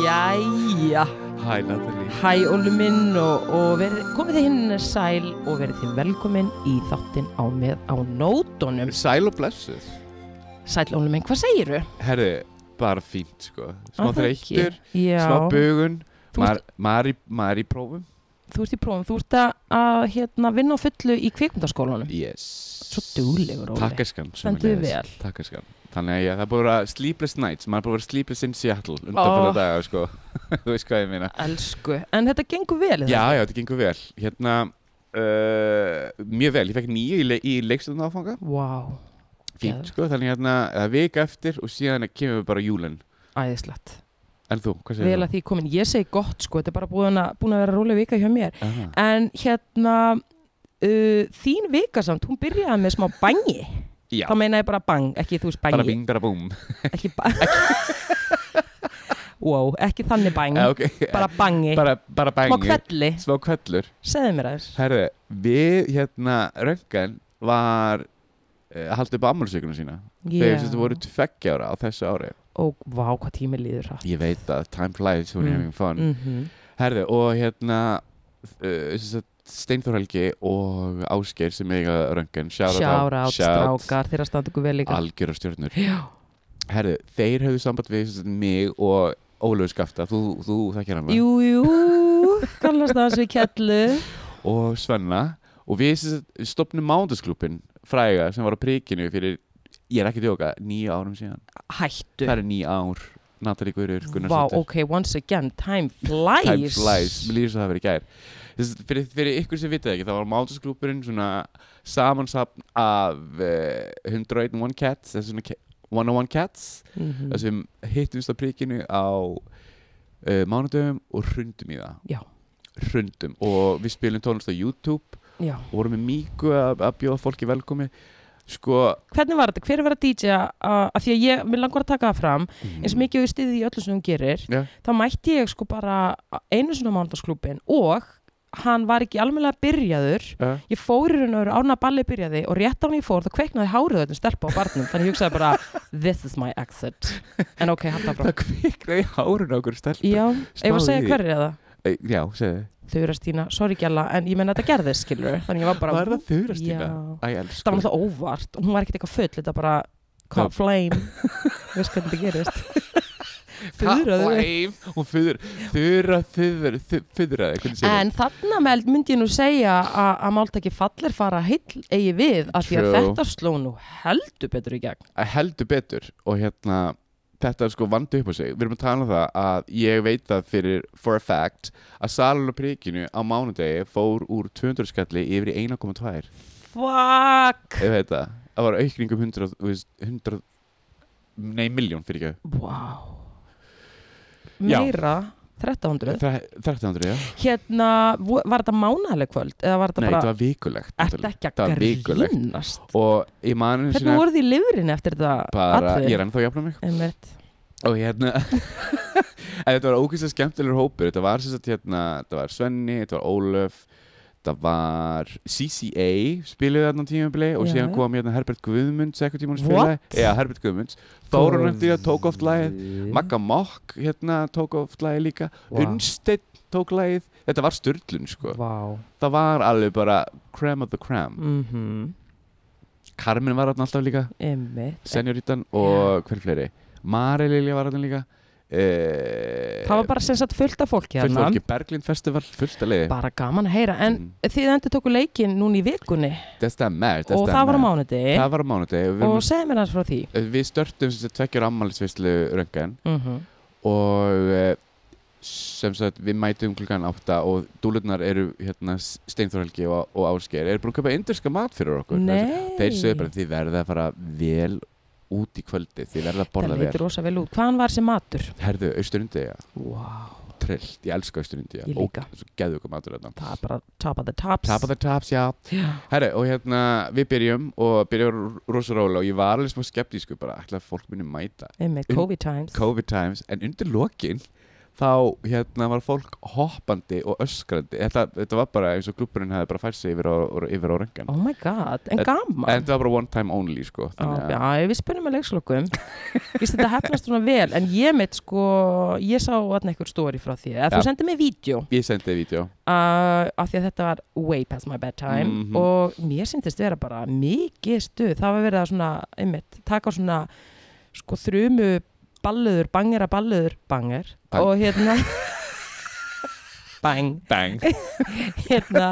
Jæja, Hæ Natalie hæ Ólu minn og, og verið, komið þið hinn sæl og verið þið velkomin í þáttinn á með á nótunum. Sæl og blessuð Sæl Ólu minn, hvað segiru? Herði, bara fínt sko Smá þreyttur, Já, smá bugun Þú Maður maður í- maður í prófum þú ert í prófum, þú ert að, að hérna, vinna á fullu í kvikundaskólanum. Yes Svo duglegur, Óli. Takkaskan Stendur þig vel. Takkaskan Þannig að ég, það er búið að vera sleepless nights Maður er búið að vera sleepless in Seattle Undanfæða Ó. oh. daga sko Þú veist hvað ég meina Elsku, en þetta gengur vel eða? Já, já, þetta gengur vel Hérna Uh, mjög vel, ég fekk nýju í, le í leikstöðun áfanga Vá, wow. fínt Geðveikt. sko, þannig hérna það er vika eftir og síðan kemur bara júlin æðislegt. en þú, hvað segir Vel að því komin, ég segi gott sko, þetta er bara búin að, búin að vera róleg vika hjá mér. þú? Aha. En hérna, uh, þín vika samt, hún byrjaði með smá bangi. Já, þá meina ég bara bang, ekki þú veist bara bangi bing, bara búm ekki bang wow, ekki þannig bang Eh, okay. bara bangi, bara, bara bængi smá kvelli Smá kvellur segðu mér aðeins Herðu, við hérna Röngan var uh, haldið upp ammálsökunum sína þegar þetta voru tveggja ára á þessu ári og vá, hvað tími líður hratt Ég veit að time flies when Mm. you're having fun mm Herðu, og hérna uh, Steinþór Helgi og Ásgeir sem eiga Röngan Shout sjára out, átt strákar, þeirra standa ykkur vel líka algjöra stjórnur já, Herðu, þeir höfðu samband við sem sagt, mig og Ólöf Skafta, þú, þú þekkir hann vel. jú, jú kannast það hans við kellu og Svenna og við sem sagt stofnum mándagsklúpin fræga sem var á prikinu fyrir ég er ekki að djóka, nýju árum síðan hættu, það er nýju ár, Natalie Guður vá, ok, once again time flies Time flies, mér líður svo það verið gær Þess, fyrir, fyrir ykkur sem vitið ekki, það var mándagsklúpurinn svona samansapn af uh, 101 One Cats eða svona ca- 101 Cats Mhm. þar sem hittumst á prikinu á uh, mánudöfum og hrundum í það Já. hrundum og við spilum tónlist á YouTube já. og vorum með Míku að, að bjóða fólki velkomi sko hvernig var þetta, hver var að DJ að því að ég, mér langar að taka það fram eins Mm. og mikið og ég stiði í öllu sem hún gerir Já. þá mætti ég sko bara einu svona mándagsklúbin og hann var ekki alveg byrjaður Já. ég fór í raun og veru ána balli byrjaði og rétt án ég fór þá kveiknaði hárið þetta stelpa á barnum þannig ég hugsaði bara this is my exit en ok, hætti það frá það kviknaði í hárun á okkur stelp já, ef Spáðu að segja í því. hverju er það Eh, já, segðu, þau eru að stýna, sorry gæla, en ég menn þetta gerðist skilur þannig ég var bara var það þurrast í Já. það? Æ, það var elsku, náttúrulega óvart og hún var ekkert eitthvað full þetta bara Já. caught flame veist hvernig þetta gerist Fuðraðu. kapplæf hún fyrir, þurra, þurra, þurra en þarna meld myndi ég nú segja að að máltæki fallir fara heill eigi við af því að True. þetta sló nú heldur betur í gegn heldur betur og hérna þetta er sko vandi upp á sig við erum að tala um það að ég veit það fyrir for a fact að salun og prikinu á mánudegi fór úr 200 skalli yfir í 1,2 ég fuck veit það, það var aukning um 100, þú veist, 100 nei, miljón fyrir wow Já. meira 1300 ekki 1300, já hérna vo- var þetta mánaleg kvöld eða var nei, þetta það bara var vikulegt ert náttúrulega. ekki það að var vikulegt. grínast og ég manu hvernig voruð þið í lifrin eftir þetta bara, ég atriði? er ennþá að jafna mig Einmitt. og hérna en þetta var ógeðslega skemmtilegur hópur þetta var sem sagt hérna, þetta var Svenni þetta var Ólöf þetta var CCA spilaði þarna á tímabili og Já, síðan já. kom hérna Herbert Guðmunds eitthvað tíma hún What? spilaði já, Herbert Guðmunds Þórun eftir það tók oft lagið Magga Mokk hérna tók oft lagið líka Vá. Unnsteinn tók lagið þetta var styrlun sko Vá. það var alveg bara creme of the creme Mhm. Carmen var þarna Eh. alltaf líka Einmitt. Senjurítan og hver fleiri Mari Lilja var þarna líka eh, Það var bara sem sagt fullt af fólki fullt hérna. fólki, Berglind Festival, fullt að leiði Bara gaman að heyra. En Mm. þið endur tóku leikin núna í vikunni það stemmar, það og stemmar það var á mánudegi það var á mánudegi og við, og og... segðu mér hans frá því. við störtum sem sagt tveggjur ammælisvislu röngan Mm og eh, sem sagt við mætum klukkan átta og dúlurnar eru hérna Steinþór Helgi og, og Ásgeir eru búin að köpa indurska mat fyrir okkur Nei. þeir sögðu bara þið verða að fara vel út í kvöldi, þið verða að borða Það vel leit rosa vel út. Hvaðan var sem matur? herðu, austurundega, Wow. trillt, ég elska austurundega Ég líka. og geðu okkur matur þetta Það er bara top of the tops. Top of the tops, já Já. Herri, og hérna, við byrjum og byrjum rosa róla og ég var alveg smá skeptísku bara, ætla að fólk muni mæta Einmitt, Um, COVID times. COVID times, en undir lokin þá hérna var fólk hoppandi og öskrandi þetta, þetta var bara eins og klubburinn hefði bara fært sig yfir á, yfir á rengan Oh my god, en En- gaman en þetta var bara one time only sko Já, þannig að Oh, já, við spennum með leikslokum Vist þetta hefnast svona vel En ég mitt sko, ég sá þarna einhver story frá því að Já. þú sendið mér vídeo ég sendi þið vídeo uh, af því að þetta var way past my bedtime Mhm. og mér syndist vera bara mikið stuð, það var verið að svona einmitt, taka svona sko þrumu balluður, bangera balluður banger Bang. og hérna bang, bang hérna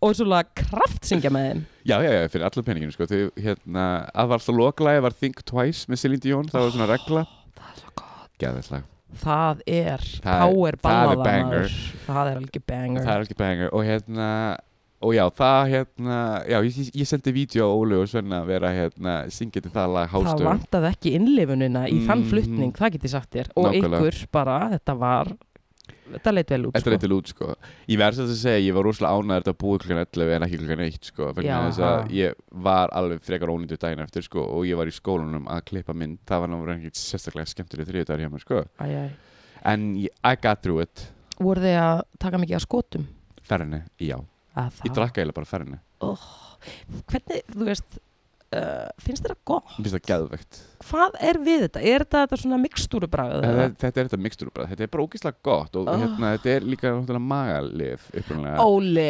og svona kraft syngja með þeim Já, já, já, fyrir allar peninginu sko Þau, hérna, að var alltaf loklæði var Think Twice með Celine Dion, það var svona regla Ah, það er svo gott Gæðislega, það er Það- power það er ballaða, banger. maður. það er alveg banger það er ekki banger og hérna, og já, það hérna já, ég, ég- ég sendi vídeo á Ólu og Svenna að vera hérna, syngið til það lag það hástöðum vantaði ekki innlifunina í þann Mhm. flutning, það get ég sagt þér og Nákvæmlega. ykkur bara, þetta var þetta leit vel út Þetta er eitthvað út sko Ég verð þess að segja, ég var rosalega ánægður þetta búið klukkan 11 en ekki klukkan 1 sko vegna Já. þess að ég var alveg frekar ónýttu daginn eftir sko og ég var í skólanum að klippa mynd það var náttúrulega ekki sérstaklega skemmtileg þriðdagar hjá mér sko Æ, æ. en ég- I got through it voru þið að taka mikið af skotum ferðinni, já að Ég það, drakk eiginlega bara ferðinni hvernig, þú veist uh, finnst þér það gott, Mér finnst það geðvegt hvað er við þetta er þetta, þetta svona mikstúrubragð þetta, eða? þetta er þetta mixtur bara, þetta er bara ógeðslega gott og Oh. hérna, þetta er líka náttúrulega magalif upprunalega Óli,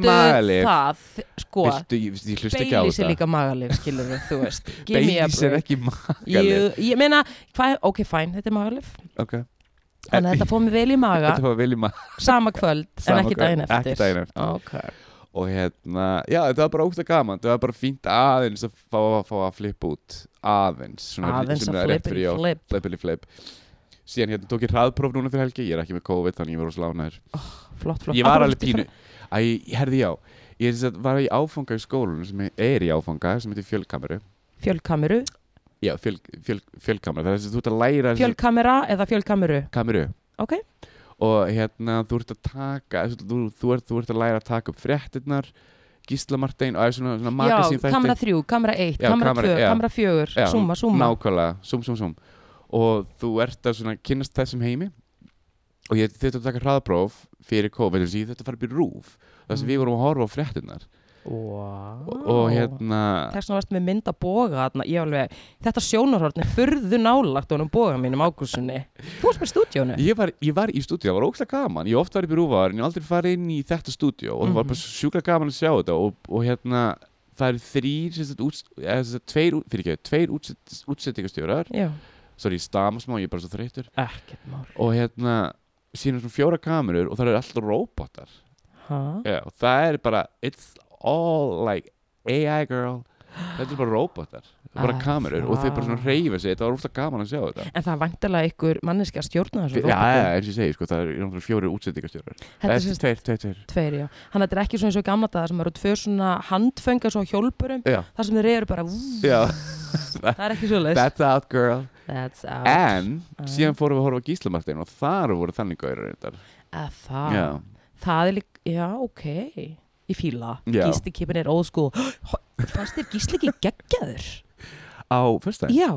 veistu magalyf. það sko, Viltu, ég, ég hlusta ekki á Baileys er þetta líka magalif skilur við, þú veist Give me a Baileys er break. ekki magalif Jú, ég meina, hvað, ok fine, þetta er magalif okay. þannig að þetta fór mér vel í maga Þetta var vel í maga sama kvöld, Sama en ekki kvöld, daginn eftir ekki daginn eftir. Ok. og hérna, já þetta var bara ógeðslega gaman þetta var bara fínt aðeins að fá, fá að flippa út aðeins svona- aðeins svona að rétt flip fyrir jól. flip flippity flip síðan hérna tók ég hraðpróf núna fyrir helgi ég er ekki með COVID þannig ég var rosalega ánæður flott, flott ég var Apropos alveg pínu Æ, herði já Ég sem sagt var í áfanga í skólanum sem er- er í áfanga sem heitir fjölkameru fjölkameru, Já, fjöl, fjöl, fjölkameru Það er þess að þú ert að læra þessa fjölkamera eða fjölkameru kameru Ok. Og hérna þú ert að taka þú, þú, þú, ert, þú ert að læra að taka upp fréttirnar Gísla Martein og það er svona, svona Já, magasín kamera 3, kamera 1, Já, kamera kamera- 2, já. kamera 4, Já, summa, summa Nákvæmlega, sum, sum, sum Og þú ert að svona kynnast þessum heimi Og ég þetta að taka hraðpróf fyrir COVID Þannig að ég þetta að fara upp í rúf Það sem Mm. við vorum að horfa á fréttirnar og, wow. og hérna Þess vegna varst með mynd að boga þarna, ég alveg, þetta sjónarhorn er furðu nálagt honum boga mínum ágússunni. Þú varst með stúdíónu. Ég var, ég var í stúdíu, það var ógstlega gaman Ég hef oft var upp í rúfaðar en ég hef aldrei farið inn í þetta stúdíu og það var Mhm. bara sjúklega gaman að sjá þetta og, og hérna, það eru þrýr sem sagt, úts, eða, sem sagt, tveir, út- fyrirgefðu, tveir útsett, útsettingastjórar Já, Sorry, ég stama smá, ég er bara svo þreytur ekkert mál. og hérna, síðan svona fjóra kamerur og það eru alltaf róbotar Ha? Já, og það er bara, it's all like AI girl Þetta er bara róbotar, það er bara Ah, kamerur og þau bara svona það. reyfa sig, þetta var ógstlega gaman að sjá þetta En það er vantilega ykkur manneskja að stjórna Já, þessu já, eins og ég segi, sko, það er náttúrulega fjóri útsendingastjórar Þetta er Eh, sérst Tveir, tveir, tveir tveir, já. Þannig að þetta er ekki svona eins og í gamla dagar sem eru tvö svona handföngar svo á hjólpurum, Já, þar sem þeir eru bara, vú, já, það er ekki svo leis. that's out girl That's out. En, Ah. síðan fórum við að horfa á Gíslamartin og þar voru þannig gaurar reyndar Að það. Já, Það er líka, já, ok Ég fíla, Já. gíslikipin er old school Fannst þér gísli ekki geggjaður? á fyrstæðin Já,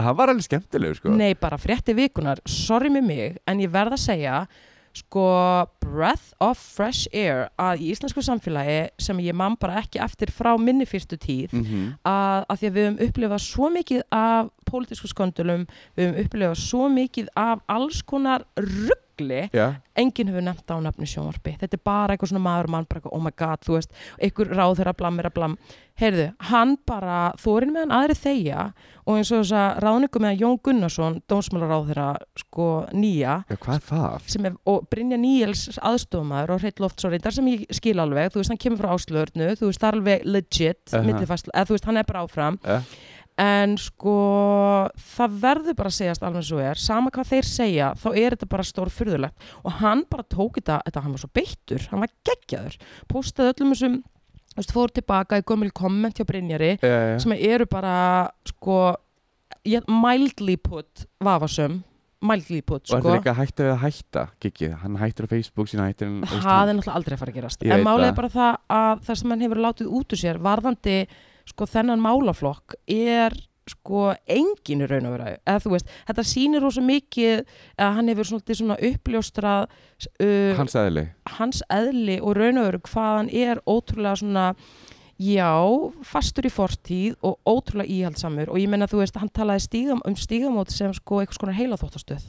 Hann var alveg skemmtilegur, sko nei, bara frétti vikunar Sorry með mig, en ég verð að segja Sko, breath of fresh air Að í íslensku samfélagi Sem ég man bara ekki eftir frá minni fyrstu tíð Mhm. að, að því að við höfum upplifað svo mikið af pólitísku skondulum Við höfum upplifað svo mikið af alls konar ruggli Já, enginn hefur nefnt á nafni sjónvarpi þetta er bara eitthvað svona maður og mann bara eitthvað, oh my god, þú veist, einhver ráð þeirra blam, meira blam, heyrðu, hann bara þórin meðan aðri þegja og eins og þess að ráðningu meðan Jón Gunnarsson dómsmálaráð þeirra, sko, nýja já hvað er það? sem er, og Brynja Níels aðstofmaður og hreitt loftsórindar sem ég skil alveg, þú veist, hann kemur frá áslöðurnu, þú veist, það er alveg legit, uh Aha. eða þú veist, hann er bara áfram Eh. en sko það verður bara að segjast alveg svo er sama hvað þeir segja, þá er þetta bara stór furðulegt og hann bara tók þetta, þetta hann var svo beittur, hann var geggjaður postaði öllum þessum þú veist, fór tilbaka í gömul komment hjá Brynjari Já, já, já. sem eru bara sko ég- mildly put vafasum mildly put Og þetta sko er líka hættur við að hætta, kikið Hann hættur á Facebook, síðan hættur hann um, veist, það er náttúrulega aldrei að fara að gerast Ég en veit málið er það. bara það að það sem hann hefur látið út úr sér varðandi sko þennan málaflokk er sko engin í raun og vera eða þú veist, þetta sýnir rosa mikið að hann hefur svolítið svona uppljóstrað uh, hans aðli hans eðli og raun og veru hvað hann er ótrúlega svona já, fastur í fortíð og ótrúlega íhaldsamur og ég menna þú veist, hann talaði stígam, um stígamót sem sko einhvers konar heilaþóttastöð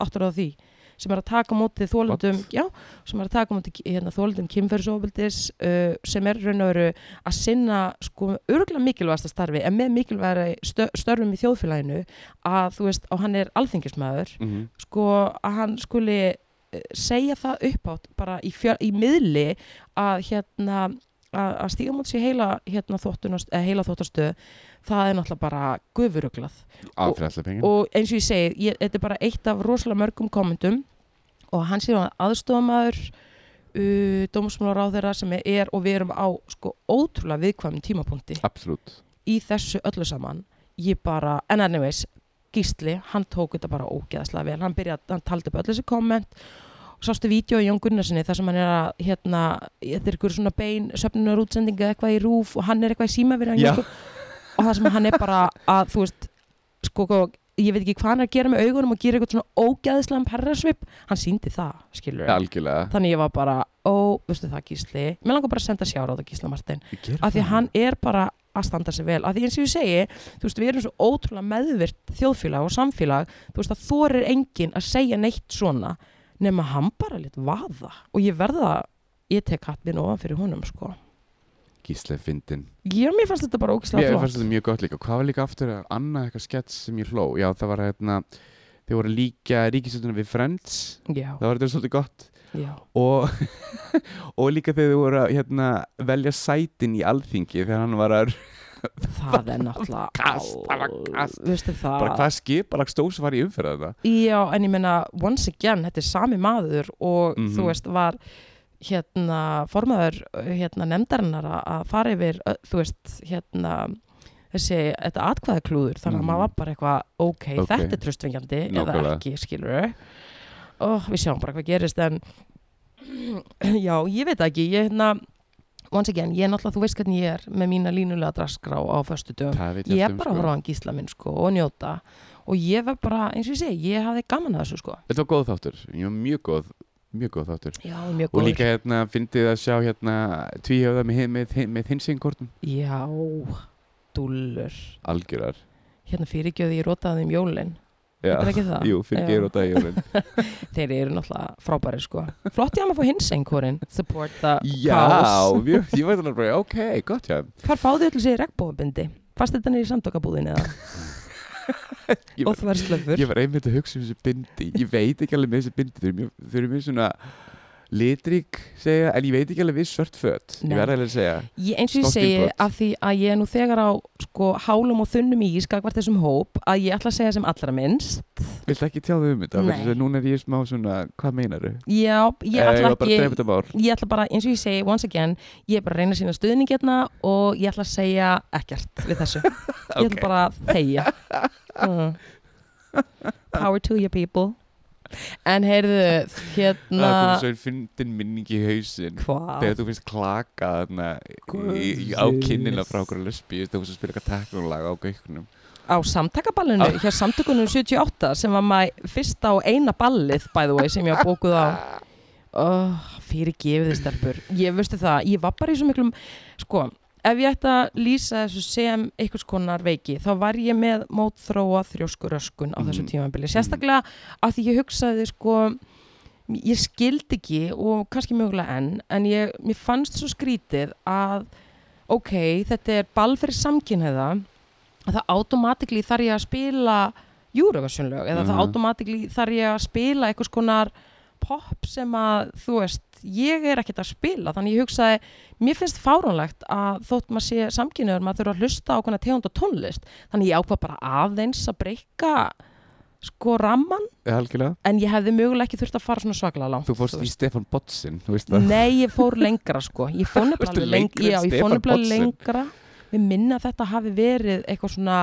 áttur á því, sem er að taka á móti þólendum, já, sem er að taka á móti hérna, þólendum kynferðsofbildis uh, sem er raun og veru að sinna sko örgulega mikilvægasta starfi en með mikilvægari stö störfum í þjóðfélaginu að þú veist, og hann er alþingismæður mm sko að hann skuli eh, segja það uppátt bara í, fjör, í miðli að hérna að, að stíga mútið sér heila hérna, þóttunast, eh, heila þóttastöð það er náttúrulega bara gufuruglað af fyrir alltaf pengin og eins og ég segi, ég, þetta er bara eitt af rosalega mörgum komendum og hann sé hann aðstofamaður uh, dómsmálaráðherra sem er og við erum á sko ótrúlega viðkvæmum tímapunkti absolutt í þessu öllu saman ég bara, en anyways Gísli, hann tók þetta bara ógeðaslega vel hann byrjaði, hann taldi upp öll þessi komment og sástu vídeo í Jón Gunnarsinni þar sem hann er að, hérna, þetta er ykkur svona bein söfnunar útsendinga eitthvað í rúf og hann er eitthvað í síma við hann Já. Jón Gunn- og það sem hann er bara að, þú veist sko, sko, ég veit ekki hvað hann er að gera með augunum og gera eitthvað svona ógeðaslega perrasvip hann síndi það, skilur algjörlega þannig ég var bara, ó, veistu það Gísli mér langar bara að senda sjára á það Gísla Martin af því að hann er bara að standa sig vel af því eins og ég segi, þú veist, við erum svo ótrúlega meðvirt þjóðfélag og samfélag þú veist, að þorir enginn að segja neitt svona nema hann bara lit vaða og ég verða, ég tek hatt minn ofan fyrir honum, sko gíslega fyndin ég, mér fannst þetta bara ógislega Mér flott fannst þetta mjög gott líka. Hvað var líka aftur að annað eitthvað skets sem ég hló? Já, það var hérna, þau voru að líka ríkisölduna við Friends. já, Það var þetta svolítið gott. já, Og, og líka þegar þau voru að hérna, velja sætin í alþingi þegar hann var að það er náttúrulega Kast, það var kast. veistu það bara hvað skipar að stósa var í umferða þetta. já, en ég meina, once again þetta er sami maður og Mhm. þú veist, var hérna formaður hérna nefndarinnar að- að fara yfir ö- þú veist, hérna þessi, þetta atkvæðaklúður þannig að Mhm. maður var bara eitthvað, ok, Ok. þetta er tröstvingjandi eða Nákvæmlega. ekki, skilur og við sjáum bara hvað gerist en já, ég veit það ekki ég hérna, once again ég er náttúrulega, þú veist hvernig ég er með mína línulega draskrá á föstu dögum Það veit ég ég um, er bara að horfa á hann gísla minn sko og njóta og ég var bara, eins og ég segi, ég hafði gaman að þessu sko Þetta var góð þáttur. Ég var mjög góð, mjög góð þáttur. já, mjög Og góður líka hérna, fyndið að sjá hérna tvíhjöfða með, með, með hinsengjkortum. já, dúllur Algjörar. hérna fyrirgjöði ég rótaði um jólin þetta er ekki það, Jú, fyrir Já. geir og dagjólinn. þeir eru náttúrulega frábæri sko flott ég að maður fór hins einhverjum support the Já, cause mjög, ég veit alveg bara, ok, gott hjá þeim. hvar fáðu allir sér regnbóðabindi fast þetta niður í samtökabúðinu eða Ég og þú verður slöfur Ég var einmitt að hugsa um þessi bindi Ég veit ekki alveg með þessi bindi Þau eru mjög- þau eru mjög svona litrík segja, En ég veit ekki alveg við svört föt Ég Nei. verð alveg að segja Ég, eins og ég Stórt segi innbrot. að því að ég er nú þegar á sko hálum og þunnum í skakvart þessum hóp að ég ætla að segja sem allra minnst Viltu ekki tjá þau um þetta? Nei. Vegna þess að Núna er ég smá svona, hvað meinaru? Eh, já, ég ætla bara að ekki drepa þetta mál ég ætla bara, eins og ég segi, once again ég er bara að reyna að sína stuðning hérna og ég ætla að segja ekkert við þessu ég ætla Ok. bara að þegja uh. power to your people en heyrðu, Það hérna kom svo einn fyndin minning í hausinn hvað Þegar þú finnst klaka þarna í- í- á Guðs. kinnina frá okkur lesbíu þegar þú varst að spila eitthvað teknulag á gauknum á samtakaballinu Ah. hjá samtökunum 78 sem var maður fyrsta og eina ballið by the way sem ég var bókuð á oh, fyrir gefiði stelpur ég veistu það, ég var bara í svo miklum sko, ef ég ætti að lýsa þessu sem einhvers konar veiki þá var ég með mótþróa þrjóskur öskun á þessu Mhm. tímabili, sérstaklega af því ég hugsaði sko ég skildi ekki og kannski mögulega enn en ég, mér fannst svo skrítið að ok, þetta er ball fyrir samkynhæða að það automatikli þarf ég að spila Eurovision-lög eða það Mhm. automatikli þarf ég að spila einhvers konar pop sem að þú veist, ég er ekkert að spila þannig ég hugsaði, mér finnst fáránlegt að þótt maður sé samkynniður maður þurfa að hlusta á konar tegund og tónlist þannig ég ákvað bara aðeins að breyka sko ramman Algjörlega en ég hefði mögulega ekki þurft að fara svona svaklega langt Þú fórst veist. í Stefan Botsin, þú veist það Nei, ég fór lengra sko Ég fór nefnilega Varstu alveg leng lengri en já, ég fór Stefán nefnilega Bollsen? lengra við minna að þetta hafi verið eitthvað svona,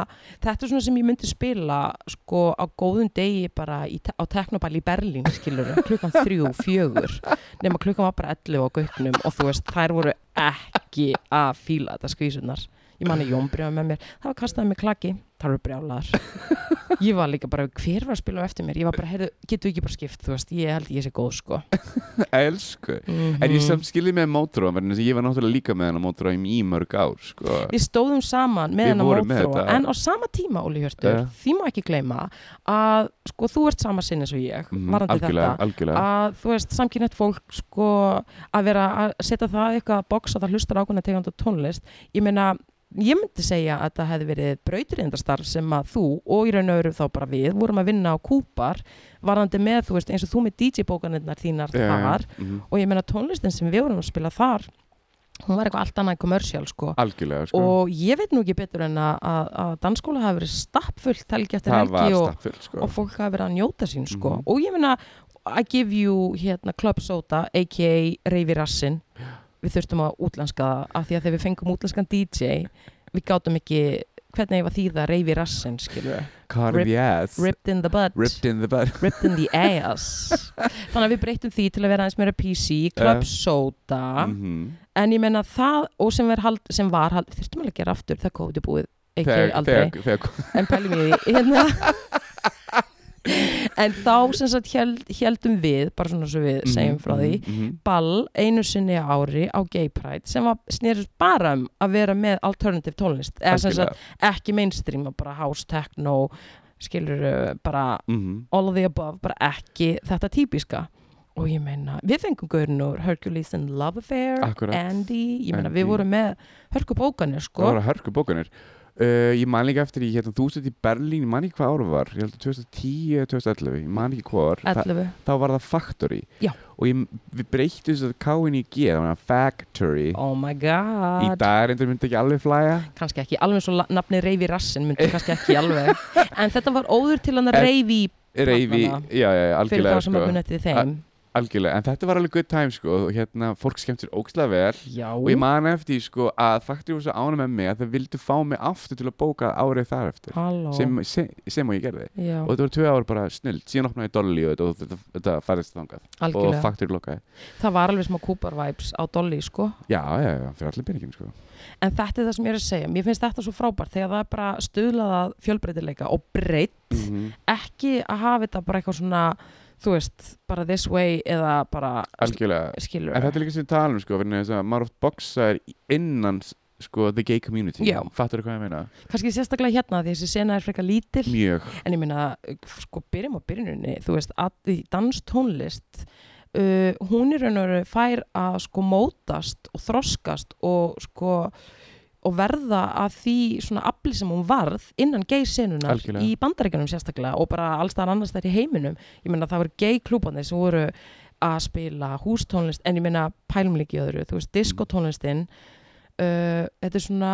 þetta er svona sem ég myndi spila sko á góðum degi bara í, te- á teknobæli í Berlín skilur, klukkan þrjú, fjögur nema klukkan var bara 11 á gauknum og þú veist, þær voru ekki að fíla þetta skvísunar ég man að Jón brjáði með mér, það var kastaði með klaki þar eru brjálaðar ég var líka bara, hver var að spila á eftir mér ég var bara, heyrðu, getur ekki bara skipt, þú veist ég held ég sé góð sko elsku En Mm. ég samt skilði með mótróa vegna þess að ég var náttúrulega líka með hennar mótróa í mörg ár sko. við stóðum saman Við með hennar vorum með mótþróa þetta. en á sama tíma, Óli Hjörtur, Já. því má ekki gleyma að sko, þú ert sama sinni eins og ég Mhm, varandi þetta algjörlega, Ah, algjörlega. að þú veist, samkynnet fólk sko, að vera að setja það eitthvað að boxa það hlustar ákveðna tegund og tónlist ég meina, ég myndi segja að það hefði verið brautirindastarf sem að þú og í raun og öru þá bara við vorum að vinna á kúpar varandi með, þú veist, eins og þú með DJ-bókaninnar þínar Já, já, þar mhm, og ég meina tónlistin sem við vorum að spila þar hún var eitthvað allt annað en kommersial sko Algjörlega sko. og ég veit nú ekki betur en að, að, að dansskóla hafi verið stappfullt helgi eftir það var helgi og, stappfull sko. og fólk hafi verið að njóta sín sko. Mhm. og ég meina I give you hérna, Club Soda aka Reyfi Rassin við þurftum að útlenska það af því að þegar við fengum útlenskan DJ við gátum ekki hvernig ég var þýða Reyfi Rassin skilur Carve rip- yes ripped in the butt Ripped in the butt ripped in the ass þannig að við breyttum því til að vera aðeins meira PC Club Já. Soda Mhm. en ég meina það og sem, er hald, sem var hald, þurftum alveg að gera aftur það kóði búið ekki Þegar- aldrei þegar- þegar- en pælum ég í því hérna. en þá sem sagt held, heldum við bara svona svo við segjum frá því Mhm, mhm. ball einu sinni á ári á Gay Pride sem var snerist bara um að vera með alternative tónlist eða sem sagt Algjörlega. ekki mainstream og bara house, techno skilur bara Mhm. all of the above, bara ekki þetta típiska og ég meina, við fengum gaurinn úr Hercules and Love Affair Akkúrat. Andy, ég meina Andy. við vorum með hörkubókanir Það sko voru hörku bókunir Uh, ég man líka eftir, í, hérna, þú stætt í Berlín, ég man ekki hvað ára var, ég held að 2010 eða 2011, ég man ekki hvað var, Þa- 11, þá var það Factory Já. og ég, við breytum þess að K-in í G, þannig að Factory, oh my í god dag reyndur myndi ekki alveg flæja, kannski ekki, alveg svo nafni Reyfi Rassin myndi kannski ekki alveg en þetta var óður til hann En- Reyfi reyfi, Þarna. já, já, já, fyrir algjörlega, þá sem sko, að muni eftir þeim algjörlega, en þetta var alveg good time, sko, og hérna, fólk skemmt sér ógslag vel já, og ég man eftir, sko, að Factory var svo ánum með mig að þau vildu fá mig aftur til að bóka árið þar eftir, halló sem, sem, sem og ég gerði. já, og þetta voru tvö ár bara snillt, síðan opnaði Dolly og þetta, og þetta, þetta færðist þangað og algjörlega, Factory lokaði það var alveg smá Cooper vibes á Dolly sko já, já, já, fyrir allir peningin sko. En þetta er það sem ég er að segja, mér finnst þetta svo frábært þegar það er bara stuðlað að fjölbreytileika og breytt, Mm. ekki að hafa þetta bara eitthvað svona, þú veist, bara this way eða bara algjörlega, skilur. en þetta er líka sem við talum sko, fyrir þess að maður oft boxar innan sko, the gay community, Já. fattur hvað ég meina Kannski sérstaklega hérna því þessi sena er frekar lítil, mjög, en ég meina, sko, byrjum á byrjuninni, þú veist, að í danstónlist, uh, hún er raun og veru fær að sko mótast og þroskast og sko, og verða að því svona afli sem hún varð innan gay senunar Algjörlega. í bandaríkjunum sérstaklega og bara allstaðar annars þær í heiminum ég meina það voru gay klúbandi sem voru að spila hústónlist en ég meina pælum líka í öðru, þú veist diskotónlistin uh, þetta er svona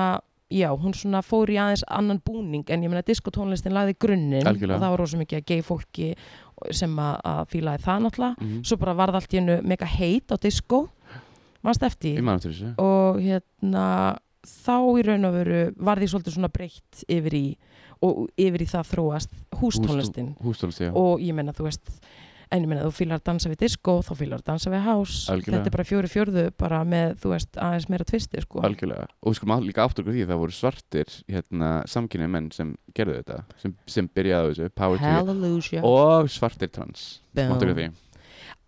já, hún svona fór í aðeins annan búning en ég meina diskotónlistin lagði grunninn Algjörlega. og það var rosa mikið að gay fólki sem að, að fílaði það náttúrulega mm svo bara varð allt í hennu mega heit á disko mannst eftir því? ég mann til þessu og hérna þá í raun og veru var því svolítið svona breytt yfir í og yfir í það þróast hústónlistin hústónlist, já, og ég menna þú veist en ég menna þú fílar að dansa við disco þá fílar að dansa við house Algjörlega. þetta er bara fjóri fjörðu bara með þú veist aðeins meira tvisti sko algjörlega og við skulum all- líka aftur okkur því að það voru svartir hérna, samkynni menn sem gerðu þetta sem, sem byrjaði á þessu, power to you Hallelujah og svartir trans, Boom. aftur okkur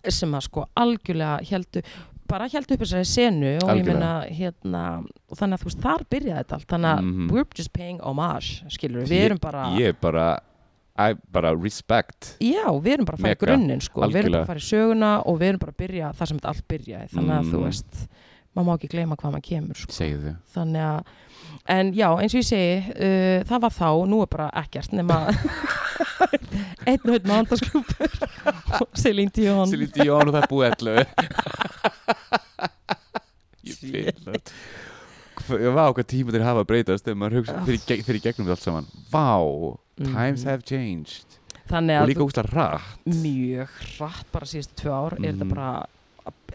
því sem að sko algjörlega heldu bara heldu upp þessari senu og ég Algjörlega. menna hérna og þannig að þú veist þar byrjaði þetta allt þannig að Mhm. we're just paying homage skilur við, Ég- erum bara ég er bara I, bara respect Já, við erum bara að fara í Mega, grunninn sko, við erum bara algjörlega. að fara í söguna og við erum bara að byrja þar sem þetta allt byrjaði þannig að Mm. þú veist, maður má ekki gleyma hvað maður kemur sko. segðu þannig að, en já, eins og ég segi uh, það var þá, nú er bara ekkert nema einn og einn mándagsklúpur og Celine Dion Celine Dion og það er búið ellu ég Shit. finn það Hva- vá hvað tíma þeir hafa að breytast þegar maður hugsa fyrir, geg- fyrir gegnum þetta allt saman vá, times Mhm. have changed þannig og að líka úst að rætt þú- mjög hratt bara síðustu tvö ár er þetta Mhm. bara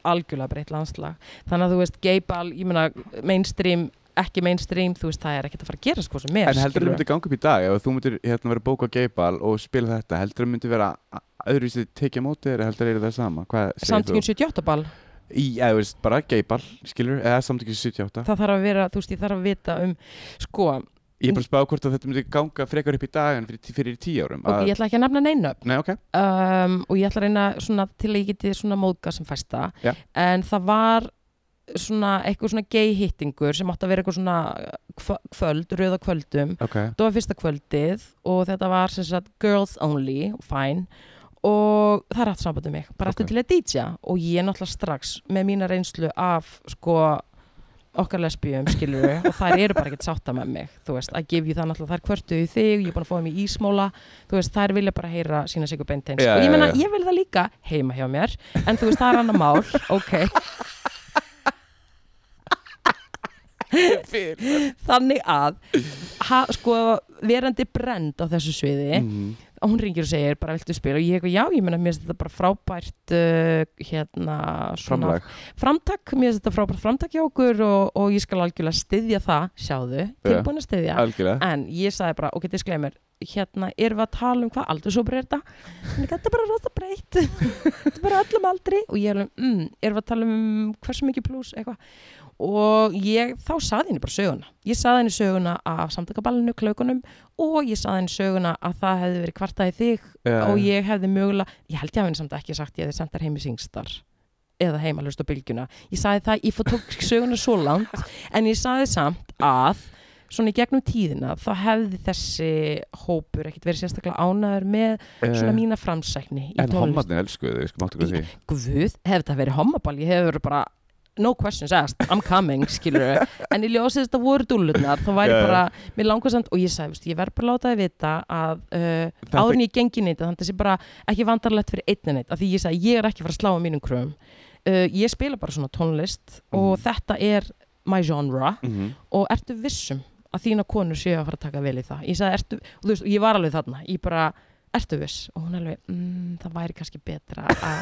algjörlega breytt landslag þannig að þú veist, geibal, ég meina mainstream ekki mainstream, þú veist, það er ekkert að fara að gera sko sem er En heldur þú myndi ganga upp í dag ef þú myndir hérna vera bóka geibal og spila þetta heldur þú myndi vera öðruvísi tekið á móti þér eða heldur þú það sama hvað segir þú? samtökjum 78 ball, Í, eða þú veist, bara geibal, skilur eða samtökjum 78 það þarf að vera, þú veist, ég þarf að vita um, sko, Ég er bara að spá hvort að þetta myndi ganga frekar upp í dag en fyrir, fyrir tíu árum ok, ég ætla ekki að nefna neina Nei, ok, um, og ég ætla að reyna svona til að ég geti svona móðga sem fæsta Já. en það var svona eitthvað svona gay hittingur sem átti að vera eitthvað svona kvö- kvöld, rauða kvöldum ok þetta var fyrsta kvöldið og þetta var sem sagt girls only, fine og það er aftur samband um mig bara Ok. aftur til að DJ og ég náttúrulega strax með mína reynslu af sko okkar lesbíum skilur og þær eru bara ekkert sátta með mig þú veist, að gefa ég það náttúrulega þær kvörtu í þig ég er búin að fá þeim í ísmóla þú veist, þær vilja bara heyra sína sigur beinteins Já, og ég já, meina, já. ég vil það líka heima hjá mér en þú veist, það er annar mál ok, þannig að ha, sko, verandi brend á þessu sviði Mhm. og hún ringir og segir bara viltu spila og ég eitthvað já, ég meina mér finnst þetta bara frábært uh, hérna svona Framlag framtak, mér finnst þetta frábært framtak hjá okkur og, og ég skal algjörlega styðja það sjáðu, tilbúin að styðja Algjörlega en ég sagði bara, ok, disclaimer hérna erum við að tala um hvað aldur svo er þetta Hún er ekki, þetta er bara rosa breytt þetta er bara öllum aldri og ég er alveg, mm, erum við að tala um hversu mikið pluss eitthvað og ég, þá saði henni bara söguna ég saði henni söguna af samtakaballinu klaukunum og ég saði henni söguna að það hefði verið kvartaði þig Já, og já. ég hefði mögulega, ég held ég hafi henni samt ekki sagt ég hefði sendt þær heim í Singstar eða heima hlust á bylgjuna ég sagði það, ég fór tók söguna svo langt en ég sagði samt að svona í gegnum tíðina þá hefði þessi hópur ekkert verið sérstaklega ánæður með svona Eh, mína framsækni í En tónlist hommarnir elskuðu þig, sko, máttu hvað því guð, hefði það verið hommaball ég hefði verið bara, no questions asked I'm coming, skilur en ég ljósið þetta voru dúllurnar, þá væri Já, já. bara mér langar samt, og ég sagði, veist, ég verð bara að láta þið vita að uh, Þetta- áður en ég gengi neitt þannig að það sé bara ekki vandarlegt fyrir einni neitt af því ég sagði, ég er ekki að fara að slá á mínum kröfum uh, ég spila bara svona tónlist og þetta er my genre Mhm. og ertu vissum að þína konur séu að fara að taka vel í það ég sagði, ertu, og þú veist, og ég var alveg þarna ég bara, ertu viss og hún alveg, mm, það væri kannski betra að fá,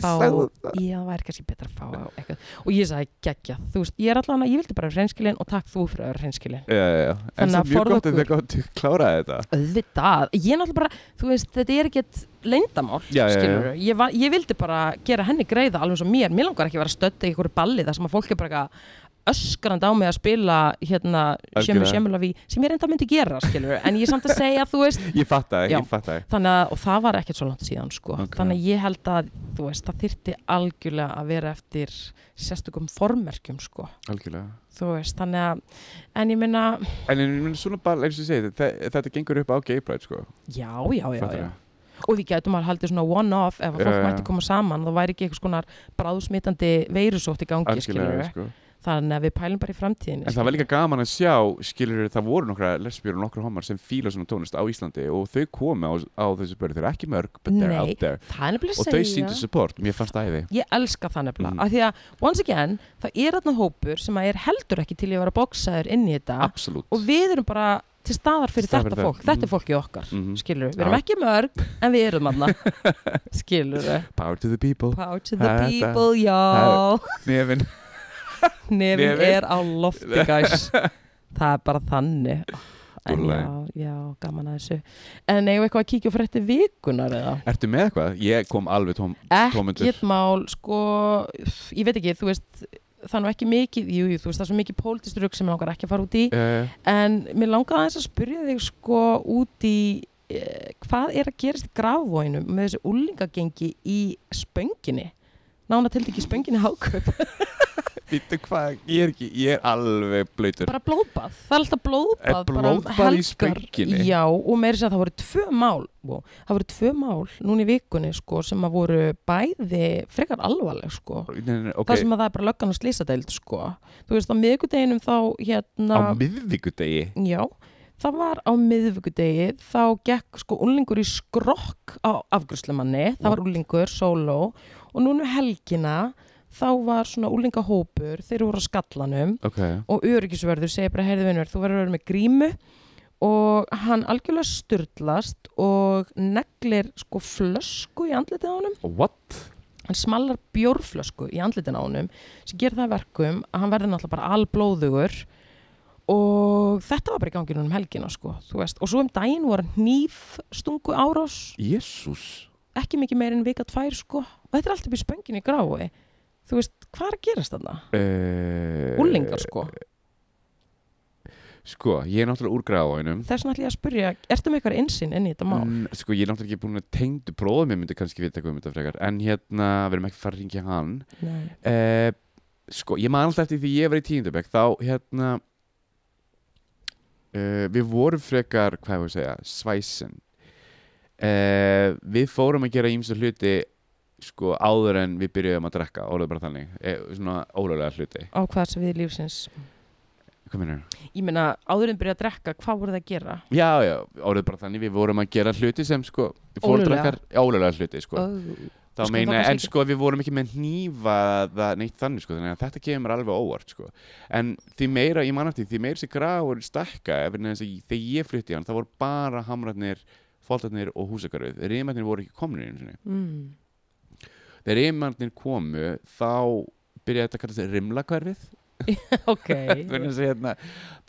Sagði ég það væri kannski betra að fá eitthvað, og ég sagði, geggja, þú veist ég er allan að, ég vildi bara reynskilin og takk þú fyrir að vera reynskilin Já, já, já En Þannig það að er mjög forða gott að okkur. þið gott að klára þetta auðvitað, ég náttúrulega bara, þú veist þetta er ekkert leyndamál Já, já, já. skilurðu. Ég, var, ég vildi bara gera henni greiða alveg svo mér, mér langar ekki að vera stödd í einhverju balli þar sem að fólk er bara eitthvað öskrand á mig að spila hérna Sjömmu Algjörlega. Sjömmulaví sem ég reynda myndi gera skilur, en ég er samt að segja, þú veist Ég fatt það, Já. ég fatt það þannig að, og það var ekkert svo langt síðan sko. Ok. þannig að ég held að, þú veist, það þyrti algjörlega að vera eftir sérstökum formerkjum, sko Algjörlega þú veist, þannig að, en ég minna En ég minn svona bara, eins og ég segi, þe- þetta gengur upp á gay pride, sko já, já, já, já, Fattarðu? og við gætum að haldið svona one-off ef að fólk Já, já. mætti koma saman, þá væri ekki eitthvað svona bráðsmitandi veirusótt í gangi, skilur Algjörlega, sko þannig að við pælum bara í framtíðinni En það var líka gaman að sjá, skilur það voru nokkra lesbjör og nokkra homar sem fíla svona tónlist á Íslandi og þau komi á, á þessu börn, þeir eru ekki mörg, but Nei. they're out there. það er nefnilega Og að þau segja síndu support, mér fannst æði. ég elska það nefnilega, Mhm. af því að once again, það er þarna hópur sem að er heldur ekki til ég var að boksa þér inn í þetta Absolutt. og við erum bara til staðar fyrir Staðar þetta fyrir fólk, það. þetta er fólkið okkar Mhm. skilur, við Já. erum ekki mörg en við erum aðna skilur við Power to the people. Power to the Þetta- people, já Nefin. nefin Nefinn. er á lofti guys það er bara þannig en Dúllæg. já, já, gaman að þessu en eigum við eitthvað að kíkja á frétti vikunar eða? Ertu með eitthvað? Ég kom alveg tóm. Tómundur. ekkert mál, sko ég veit ekki, þú veist það er nú ekki mikið, jú, jú, þú veist það er svo mikið pólitistur sem mig langar ekki að fara út í Uh, En mér langaði aðeins að spyrja þig sko út í eh, hvað er að gerast í grafvóinum með þessu úlingagengi í spönginni? Nána til ekki spönginni háköp, Vittu hvað, ég er ekki, ég er alveg blöytur. bara blóðbað. Það er alltaf blóðbað. Er bara um blóðbað í helgar. Spönginni? Já, og meiri sér að það voru tvö mál, wow, það voru tvö mál núna í vikunni sko sem að voru bæði frekar alvarleg sko. Nei, nei, nei, ok, Það sem að það er bara löggan og slísadeild sko. Þú veist á miðgudeginum þá hérna... á miðvíkudegi. Já, það var á miðvíkudegi, þá gekk sko úlingur í skrokk á afgrúslemanni, það var úlingur, sóló og núna um helgina þá var svona úlingahópur, þeir voru á skallanum Ok. og öryggisverður segir bara, heyrðu vinnur, þú verður að vera með grímu og hann algjörlega styrlast og neglir sko flösku í andlitið á honum What? hann smallar bjórflösku í andlitin á honum sem gerir það að verkum að hann verður náttúrulega bara alblóðugur og þetta var bara í ganginu um helgina sko, þú veist, og svo um daginn voru nýf stungu árás Jésús ekki mikið meir en vika tvær sko og þetta er allt upp í spöngin í grái þú veist, hvað er að gerast þarna? uh, Úlingar sko, Sko, ég er náttúrulega úr gráinum þess vegna ætlum ég að spyrja ertu með eitthvað einsinn inn í þetta mál? Mm, sko, ég er náttúrulega ekki búin að tengdu bróðum ég myndi kannski vita hvað um þetta frekar en hérna, við erum ekki að fara að ringja hann Nei. uh, sko, ég man alltaf eftir því ég var í tíundabæk þá hérna uh, við vorum frekar hvað hefur að segja, svæsin uh, við fórum að gera ímsa hluti sko áður en við byrjuðum að drekka orðið bara þannig, eh, svona ólega hluti á hvað sem við lífsins hvað minnur? ég meina, áður en byrja að drekka, hvað voru það að gera? Já, já, orðið bara þannig við vorum að gera hluti sem sko Ólöglega. fóruðrakkar, ólega hluti sko Oh. þá Sko, meina, þá kannski en ekki- sko við vorum ekki með hnífa eða neitt þannig sko, þannig að þetta kemur alveg óvart sko, en því meira ég mann aftur, því meira sér gráur stakka efinn þess að ég- þegar ég flytti hann, það voru bara hamrarnir, fóltarnir og húsakarfið reymarnir voru ekki komnir einu sinni Mm. þegar reymarnir komu, þá byrjaði þetta að kalla sig rimlakverfið ok Vegna þess að hérna,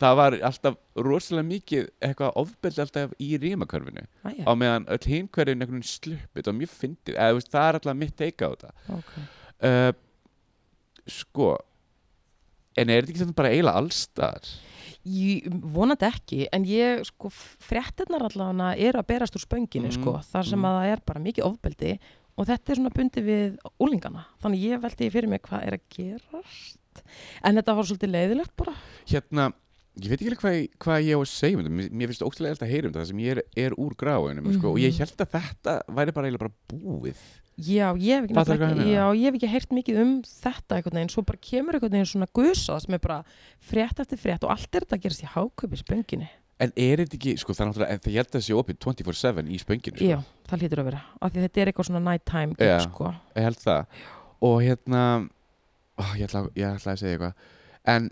það var alltaf rosalega mikið eitthvað ofbeldi alltaf í rímakörfinu Æja, á meðan öll hinhverjun einhvern veginn sluppið og mjög fyndið, eða þú veist, það er alltaf mitt teika á þetta ok. uh, sko en er þetta ekki þetta bara eiginlega allstar Ég vonandi ekki, en ég sko fréttinnar allavega eru að berast úr spönginu Mm, sko, þar sem mm. að það er bara mikið ofbeldi og þetta er svona bundið við úlingana, þannig ég veldi fyrir mig hvað er að gerast en þetta var svolítið leiðilegt bara hérna, ég veit ekki alveg hvað, hvað ég á að segja um þetta, mér, mér finnst ótrúlega eða að heyra um þetta það sem ég er, er úr gráinum sko, og ég Mhm. held að þetta væri bara eiginlega bara búið Já, ég hef ekki, nefnilega Fattar hvað ég ekki, meina? já, ég hef ekki heyrt mikið um þetta einhvern veginn, svo bara kemur einhvern veginn svona gusa sem er bara frétt eftir frétt og allt er þetta að gerast í háköpi spönginni. en er þetta ekki, sko það er náttúrulega en það ég held að það sé opið 24-7 í spönginu sko. Já, það hlýtur að vera, af því þetta er eitthvað svona night time Já. gig, sko. ég held það og hérna ó, ég, ætla, ég ætla að segja eitthvað en,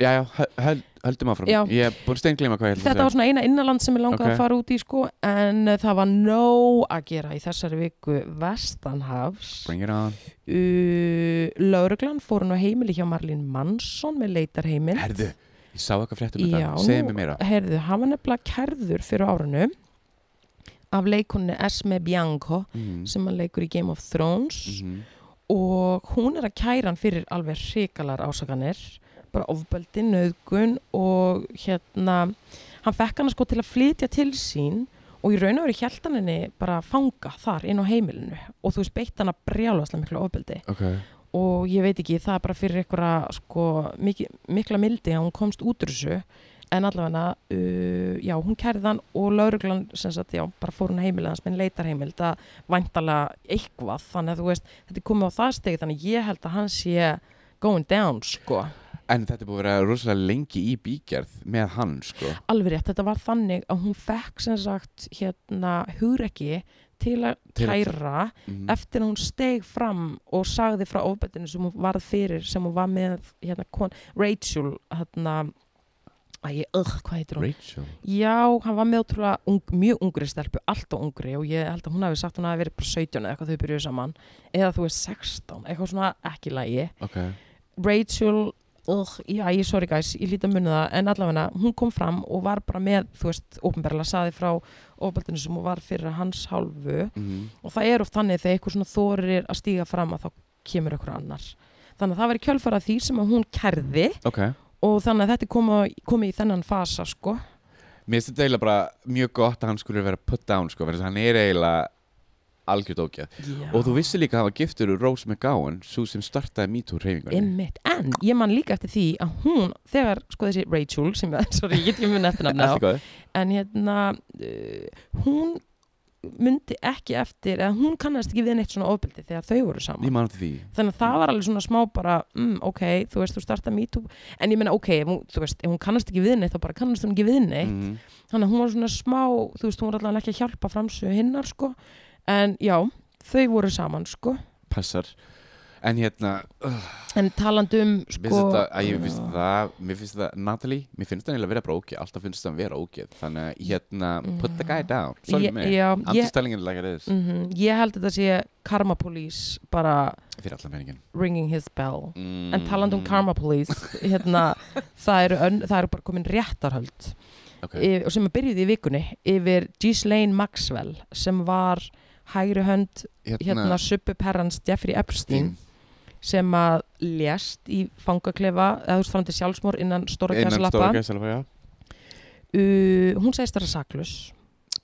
já, já, höld, höldum áfram Já. ég er búin steinglima hvað ég held Þetta var svona eina innanland sem ég langaði Ok. að fara út í, sko, en uh, það var nóg að gera í þessari viku vestanhafs. bring it on Uh, Lauruglan fór nú á heimili hjá Marlín Mansson með leitarheiminn. herðu, ég sá eitthvað fréttum um Já, þetta, segja nú- mér meira Herðu, hann var nefnilega kærður fyrir á árinu af leikonni Esme Bianco mm. sem hann leikur í Game of Thrones Mhm. og hún er að kæra hann fyrir alveg hrikalar ásakanir bara ofbeldi, nöðgun og hérna hann fekk hann sko til að flytja til sín og í raun og verið hjælt hann henni bara fanga þar inn á heimilinu og þú veist beitt hann að brjálaslega miklu ofbeldi ok, og ég veit ekki, það er bara fyrir einhverja sko, miki, mikla mildi að hún komst út úr þessu en allavega uh, já, hún kærði hann og lauruglan sem sagt, já, bara fór hún heimilans menn leitar heimild að væntalega eitthvað, þannig að þú veist, þetta er komið á það stegi þannig að ég held að hann sé going down, sko, en þetta er búið að vera rosalega lengi í bígerð með hann, sko alveg rétt þetta var þannig að hún fekk sem sagt hérna hugrekki til að Til að- kæra mm. eftir að hún steig fram og sagði frá ofbeldinu sem hún varð fyrir sem hún var með hérna, kon, Rachel hérna, æ, ögh, hvað heitir hún? Rachel Já, hann var með ótrúlega ung, mjög ungri stelpu, allt og ungri og ég held að hún hafi sagt hún hafi verið bara 17 eða eitthvað þau byrjuðu saman eða þú er 16, eitthvað svona ekki lægi ok, Rachel uh, já, ég sorry guys, ég líti að muni það en allavega hún kom fram og var bara með þú veist, ópenbarlega saði frá ofbeldinu sem hún var fyrir hans hálfu mm. og það er oft þannig þegar eitthvað svona þorir að stíga fram að þá kemur eitthvað annar þannig að það var í kjölfara því sem að hún kerði ok og þannig að þetta er komið komi í þennan fasa sko mér finnst þetta eiginlega bara mjög gott að hann skulle vera put down, sko, verðan hann er eiginlega algjörð ógæð Já. Og þú vissi líka að hann var giftur úr Rose McGowan svo sem startaði MeToo reyfingunni Einmitt. en ég man líka eftir því að hún þegar sko þessi Rachel sem ég, sorry, ég get ekki mun eftir nafna á Allt í góðu. en hérna uh, hún myndi ekki eftir eða hún kannast ekki við neitt svona ofbeldi þegar þau voru saman Ég man eftir því þannig að það var alveg svona smá bara mm, ok, þú veist, þú starta MeToo en ég meina, ok, ef hún, þú veist, ef hún kannast ekki við neitt þá bara kannast hún ekki við neitt Mhm. þannig að hún var svona smá, þú veist, hún var allavega ekki að hjálpa framsögu hinnar, sko en já, þau voru saman, sko Passar en hérna uh, en talandi um mér sko, finnst þetta, að ég finnst það mér finnst það, Natalie, mér finnst það eiginlega vera bara ógeð alltaf finnst það vera ógeð, þannig að hérna put the guy down, sorry Mm. Ég- yeah, me já, I'm ég- just telling you like it is Mhm, ég held að þetta sé Karma Police bara fyrir allan peningin ringing his bell mm. en taland um Karma Police hérna, það, eru ön, það eru bara komin réttarhöld okay. okay. sem byrjuði í vikunni yfir Ghislaine Maxwell sem var hægri hönd hérna subperrans Jeffrey Epstein Epstein. sem að lést í fangaklefa eða þú veist fram til sjálfsmór innan stóra innan gæsalappa stóra gæsalappa, já uh, hún segist vera saklus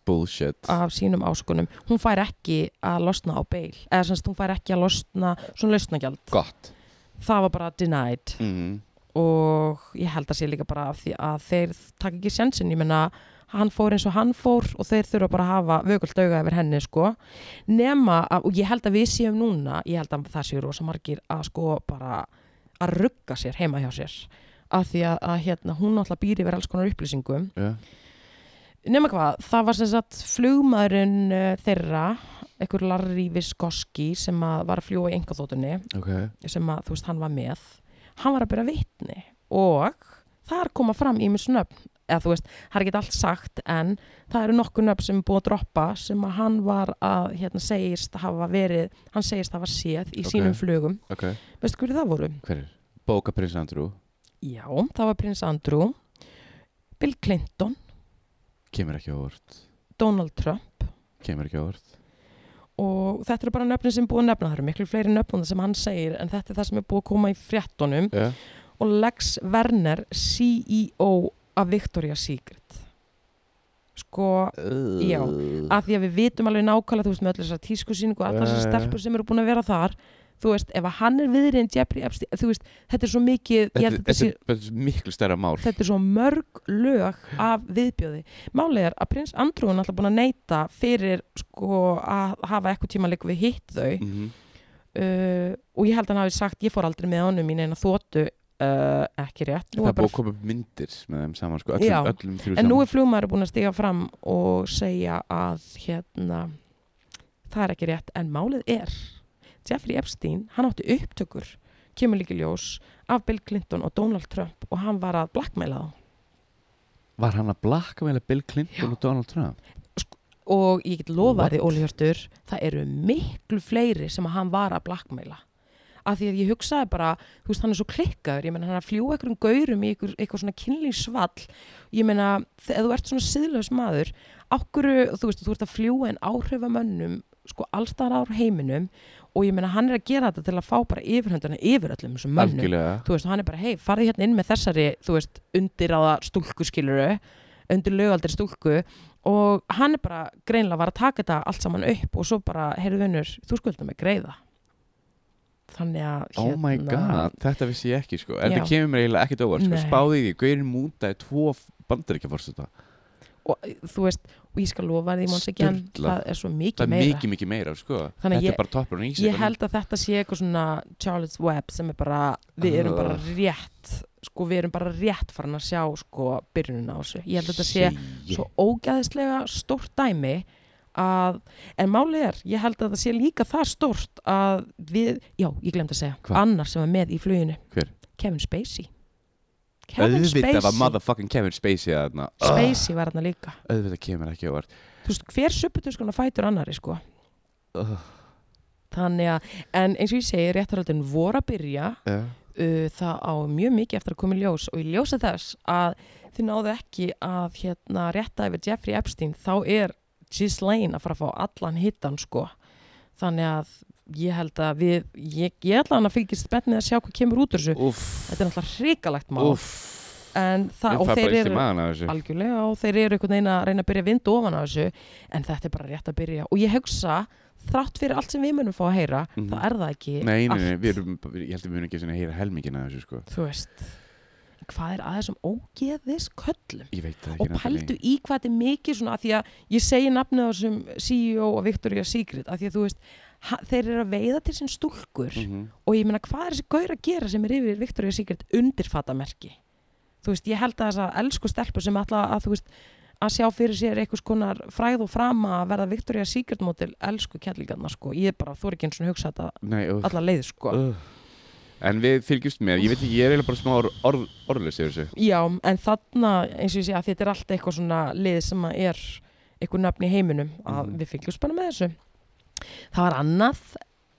bullshit af sínum áskunum hún fær ekki að losna á beil eða semst hún fær ekki að losna svona lausnagjald gott það var bara denied mm. og ég held að sé líka bara af því að þeir takk ekki sjensin, ég menna hann fór eins og hann fór og þeir þurfa bara að hafa vökult auga yfir henni sko nema, að, og ég held að við séum núna ég held að það séu rosa margir að sko bara að rugga sér heima hjá sér af því að, að hérna, hún náttúrulega býr yfir alls konar upplýsingum yeah. nema hvað, það var sem sagt flugmaðurinn uh, þeirra einhver Larry Viskoski sem að var að fljúa í engaþótunni ok sem að þú veist hann var með hann var að byrja vitni og þar koma fram ímis nöfn eða þú veist, það er ekki allt sagt en það eru nokkuð nöfn sem er búið að droppa sem að hann var að, hérna, segist hafa verið, hann segist hafa séð í Ok. sínum flugum, ok veistu hverju það voru? hver er bóka prins Andrew Já, það var prins Andrew Bill Clinton, kemur ekki á orð Donald Trump kemur ekki á orð og þetta eru bara nöfnin sem er búið að nefna það eru miklu fleiri nöfnum sem hann segir en þetta er það sem er búið að koma í fréttunum yeah. og Lex Werner CEO af Victoria's Secret sko Já, uh. að því að við vitum alveg nákvæmlega þú veist með öll þessar tískusýningu og allar Já, já, þessar já. stelpur sem eru búin að vera þar þú veist, ef að hann er viðriðin Jeffrey Epstein, þú veist, þetta er svo mikið ég þetta, held að þetta, þetta, sé, er- þetta er miklu stærra mál þetta er svo mörg lög af viðbjóði. Málið er að prins Andrew er alltaf búin að neyta fyrir sko að hafa eitthvað tíma líka við hitt þau Mhm. uh, og ég held að hann hafi sagt, ég fór aldrei með honum í neina þóttu uh, ekki rétt, það nú er er bara búið að koma upp myndir með þeim saman sko, Já. öllum, öllum þrjú En saman nú er flugmaður búin að stiga fram og segja að hérna, það er ekki rétt en málið er Jeffrey Epstein, hann átti upptökur kemur líki ljós af Bill Clinton og Donald Trump og hann var að blackmaila þá var hann að blakka meðlega Bill Clinton Já. og Donald Trump og ég get What? lofaði Óli Hjörtur það eru miklu fleiri sem að hann var að blackmaila af því að ég hugsaði bara, þú veist hann er svo klikkaður ég meina hann er að fljúa einhverjum gaurum í einhver, eitthvað svona kynlífsvall ég meina, þ- ef þú ert svona siðlaus maður okkur, þú veist, þú ert að fljúa en áhrifa mönnum, sko allstaðar á heiminum og ég meina hann er að gera þetta til að fá bara yfirhöndana yfir öllum þessum mönnum algjörlega þú veist, og hann er bara, hei, farði hérna inn með þessari, þú veist, undirráða stúlku skiluru, undir lögaldri stúlku og hann er bara greinlega var að taka þetta allt saman upp og svo bara, heyrðu vinnur, þú skuldum mig greiða þannig að Oh my god, þetta vissi ég ekki sko En Hérna. Já. það kemur mér eiginlega ekkert óvart sko. Nei. Spáði í því, Gaurin mútaði tvo bandaríkja fórseta og þú veist, og ég skal lofa því manns ekki en Sturlað. það er svo Það mikið er meira mikið, mikið meira sko. Þannig Þetta að ég- er bara toppur og ég held að þetta sé eitthvað svona Charles Webb sem er bara, við erum bara rétt sko, við erum bara rétt farin að sjá sko, byrjunina á þessu, ég held að þetta sé svo ógæðislega stórt dæmi að, en málið er ég held að það sé líka það stórt að við, já, ég glemt að segja Hvað? annar sem var með í fluginu Hver? Kevin Spacey Kevin Auðvitað var Spacey, motherfucking Kevin Spacey þarna. Ugh, Spacey var hann líka Auðvitað kemur ekki óvart þú veist, hver supputuskuna fætur annari sko Ugh, þannig að, en eins og ég segi réttaröldin voru að byrja já. uh, það á mjög mikið eftir að koma í ljós og í ljósa þess að þið náðu ekki að hérna rétta yfir Jeffrey Epstein þá er Ghislaine að fara að fá allan hittan sko þannig að ég held að við ég, ég ætla hann að fylgjast spennt með að sjá hvað kemur út úr þessu Úff þetta er náttúrulega hrikalegt mál Úff en það, Ég og fæ bara þeir eitt í eru maðan af þessu algjörlega og þeir eru einhvern veginn að reyna að byrja vind ofan á þessu en þetta er bara rétt að byrja og ég hugsa þrátt fyrir allt sem við munum fá að heyra Mhm. þá er það ekki Nei, nei, nei, allt. við erum, við- ég held að við munum ekki sinni að heyra helmingina af þessu sko þú veist hvað er aðeins um ógeðis köllum Ég veit það ekki og Natalie. pældu í hvað þetta er mikið svona að því að ég segi nafnið á þessum CEO og Victoria Secret að því að þú veist ha- þeir eru að veiða til sinn stúlkur Mhm. og ég meina hvað er þessi gaur að gera sem er yfir Victoria Secret undirfatamerki þú veist ég held að þess að elsku stelpur sem alltaf að þú veist að sjá fyrir sér einhvers konar fræð og frama að verða Victoria Secret model elsku kjallingarna sko, ég er bara, þú er ekki eins og hugsa þetta Nei, uh, alla leið sko uh. En við fylgjumst með, ég veit ekki, ég er eiginlega bara smá orð, orð, orðlust yfir þessu Já, en þarna eins og ég sé að þetta er allt eitthvað svona lið sem að er eitthvað nafn í heiminum að Mhm. við fylgjumst bara með þessu Það var annað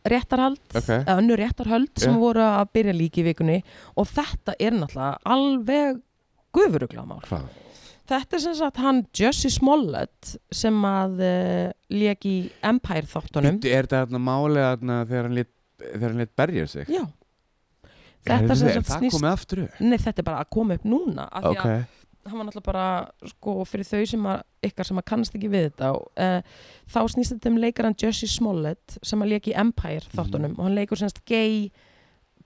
réttarhald Ok. eða önnur réttarhöld sem Já. voru að byrja líki í vikunni og þetta er náttúrulega alveg guðuruglamál Hvað? Þetta er sem sagt hann Jussi Smollett sem að uh, lék í Empire þáttunum Bíddu, Er þetta þarna málið þarna þegar hann lét, þegar hann lét berja sig? Já Þetta sem er sagt það snýst komið aftur upp? Nei, þetta er bara að koma upp núna af því Ok, að hann var náttúrulega bara sko, fyrir þau sem að, ykkar sem að kannast ekki við þetta uh, þá snýst þetta um leikaran Jussi Smollett sem að lék í Empire þáttunum og hann leikur semst gay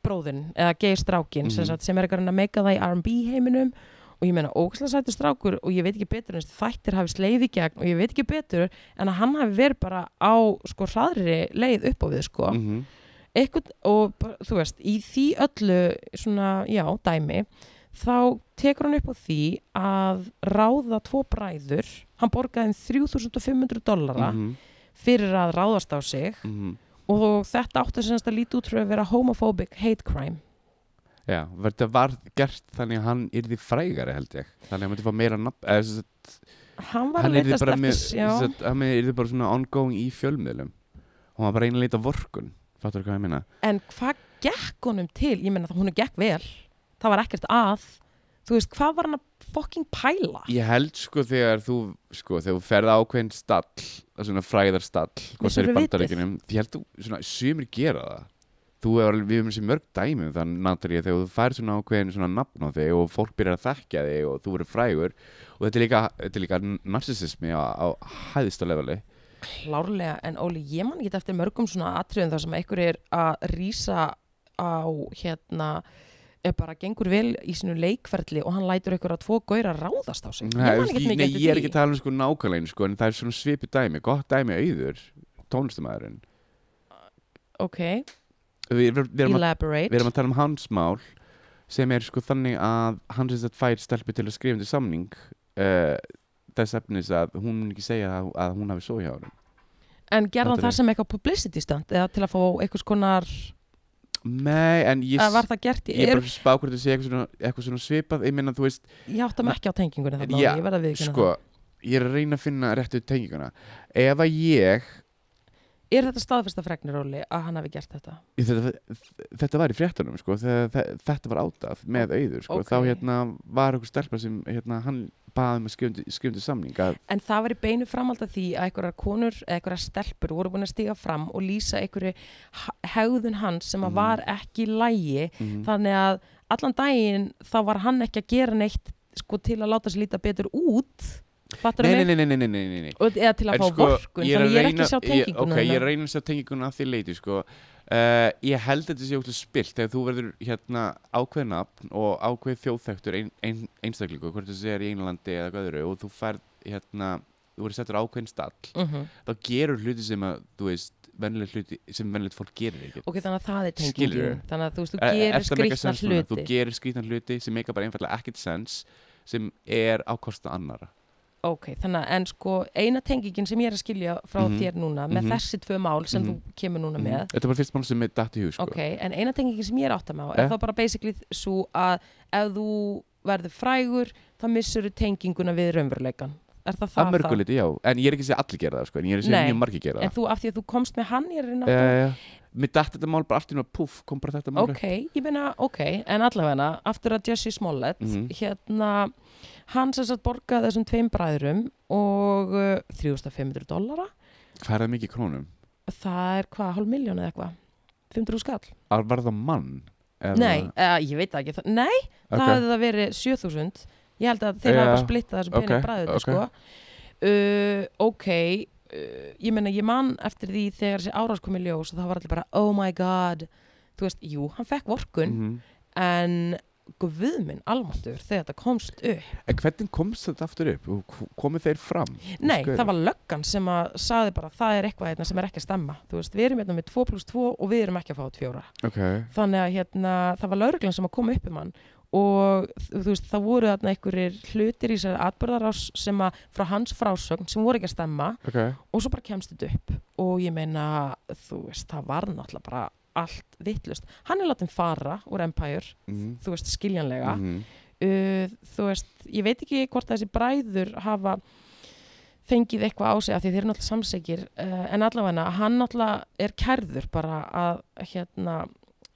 bróðin eða gay strákin sem, Mhm. sagt, sem er eitthvað að reyna að meika það í R&B heiminum og ég meina ógæslega sættur strákur og ég veit ekki betur en þættir hafi sleið í gegn og ég veit ekki betur en að hann hafi verið bara á sko hraðri leið upp á við sko mm -hmm. eitthvað, og bara, þú veist, í því öllu svona, já, dæmi þá tekur hann upp á því að ráða tvo bræður hann borgaði þeim 3500 dollara Mhm. fyrir að ráðast á sig og þetta átti semst að líti út fyrir að vera homophobic hate crime Já, þetta var gert þannig að hann yrði frægari held ég Þannig að hann myndi fá meira nafn eða, sem sagt, hann var Hann að yrði leitast bara, eftir með, já, sem sagt, hann yrði bara svona ongoing í fjölmiðlum og hann var bara einu að leita að vorkun Fattur hvað ég minna? en hvað gekk honum til ég menna það hún gekk vel það var ekkert að þú veist, hvað var hann að fucking pæla Ég held sko þegar þú sko, þegar þú ferð á ákveðin stall svona fræðar stall hvort sem er í við vitið. bandaríkjunum ég held þú, svona, sumir gera það þú hefur alveg, við hefum þessi mörg dæmi um þannig Natalia, þegar þú fær svona ákveðin svona nafn á þig og fólk byrjar að þekkja þig og þú verður frægur og þetta er líka, þetta er líka narsisismi á, á hæðista leveli Klárlega, en Óli, ég man ekki eftir mörgum svona atriðum þar sem einhver er að rýsa á hérna er bara gengur vel í sínu leikferli og hann lætur einhver að tvo gauðra ráðast á sig Nei, ég man ekki ég, mikið nei, ég eftir er ekki að því tala um sko nákvæmlegin sko, en það er svona svipi dæmi, gott dæmi auður tónlistamæðurinn ok, við, við, við, erum að, við elaborate erum að tala um hans mál sem er sko þannig að hann sem þetta fær stelpi til að skrifa undir samning uh, þess efnis að hún mun ekki segja að, að hún hafi svo hjá hann en gerðan Þetta er- það sem eitthvað publicity stand eða til að fá einhvers konar Nei, en ég, að var það gert í ég er er, bara að spá hvort það sé eitthvað svona, eitthvað svona svipað ég meina þú veist, ég átta mig ekki á tengingunni þarna Já, Óli, ég verða við ekki sko ég er að reyna að finna réttu tenginguna ef að ég er þetta staðfesta fregnir Óli að hann hafi gert þetta Ég, Þetta, þetta var í fréttunum sko, þegar þe- þetta var átaf með auður sko. ok. þá hérna, var einhver stelpa sem hérna, hann baði um að skrifundu samning að, En það var í beinu framhald af því að einhverjar konur eða einhverjar stelpur voru búin að stíga fram og lýsa einhverju ha- hegðun hans sem að Mhm. var ekki í lægi mm, þannig að allan daginn þá var hann ekki að gera neitt sko til að láta sér líta betur út fattur nei, mig nei, nei, nei, nei, nei, nei, nei. Og, eða til að En fá sko, vorkun er þannig að ég er ekki að sjá ég, tenginguna ok, þarna. ég er að reyna að sjá tenginguna að því leiti sko. uh, ég held að þetta sé okkur spilt þegar þú verður hérna, ákveð nafn og ákveð þjóðþektur ein, ein, einstaklingu hvort þessi er í einlandi eða hvað öðru og þú færð hérna, þú verður settur á ákveðin stall Mhm. þá gerur hluti sem að, þú veist, venlega hluti sem venlega fólk gerir ekki ok, þannig að það er Skilurðu? tengingin þannig að þú veist, þú Eh, gerir ertu að make skrýtna sense núna? Þú hluti gerir skrýtna hluti sem meika bara einfallega ekkert sens sem er á kosta annara ok, þannig að en sko eina tengingin sem ég er að skilja frá Mhm. þér núna með Mhm. þessi tvö mál sem Mhm. þú kemur núna með Þetta er bara fyrst mál sem er datt í hug sko. Ok, en eina tengingin sem ég er átt að má er Eh? þá bara basically svo að ef þú verður frægur þá missur þú tenginguna við raunveruleikan Er það það? Að mörgu liti, já, en ég er ekki að segja að allir gera það sko, en ég er að segja Nei. mjög margir gera það? En það þú, af því að þú komst með hann, ég er reyna Já, að... já, já. Mér datt þetta mál bara allt í náttúrulega puff kom bara þetta mál Ok, ég meina, ok, en allavega aftur að Jesse Smollett, Mhm. hérna, hann sem satt borgaði þessum tveim bræðrum og uh, 3500 dollara, upp. Hvað er það mikið í krónum? það er hvað, hálf miljón eða eitthvað, 500 skall? Að var það mann? Eða- Nei, uh, ég veit það ekki, það, nei, Hérna- Ok. það hefði það verið 7000 ég held að þeir Já, hafa bara splittað þessum pening ok, okay, bræðið ok. sko uh, ok uh, ég meina ég man eftir því þegar þessi árás kom í ljós og það var allir bara oh my god, þú veist, jú, hann fekk vorkun Mhm. en guð minn almatur þegar þetta komst upp En hvernig komst þetta aftur upp? Og hv- Komu þeir fram? nei, Skauður. það var löggan sem að saði bara það er eitthvað hérna sem er ekki að stemma þú veist, við erum hérna með 2 pluss 2 og við erum ekki að fá 2 Ok, þannig að hérna, það var lauruglan sem að koma upp um hann og þú veist, það voru þarna einhverjir hlutir í þessari atbyrðarás sem að frá hans frásögn sem voru ekki að stemma ok, og svo bara kemst þetta upp og ég meina, þú veist, það var náttúrulega bara allt vittlust. Hann er látið fara úr Empire, mhm, þú veist, skiljanlega mhm, uh, þú veist, ég veit ekki hvort þessi bræður hafa fengið eitthvað á sig af því þeir eru náttúrulega samsækir uh, en allavega hann náttúrulega er kærður bara að hérna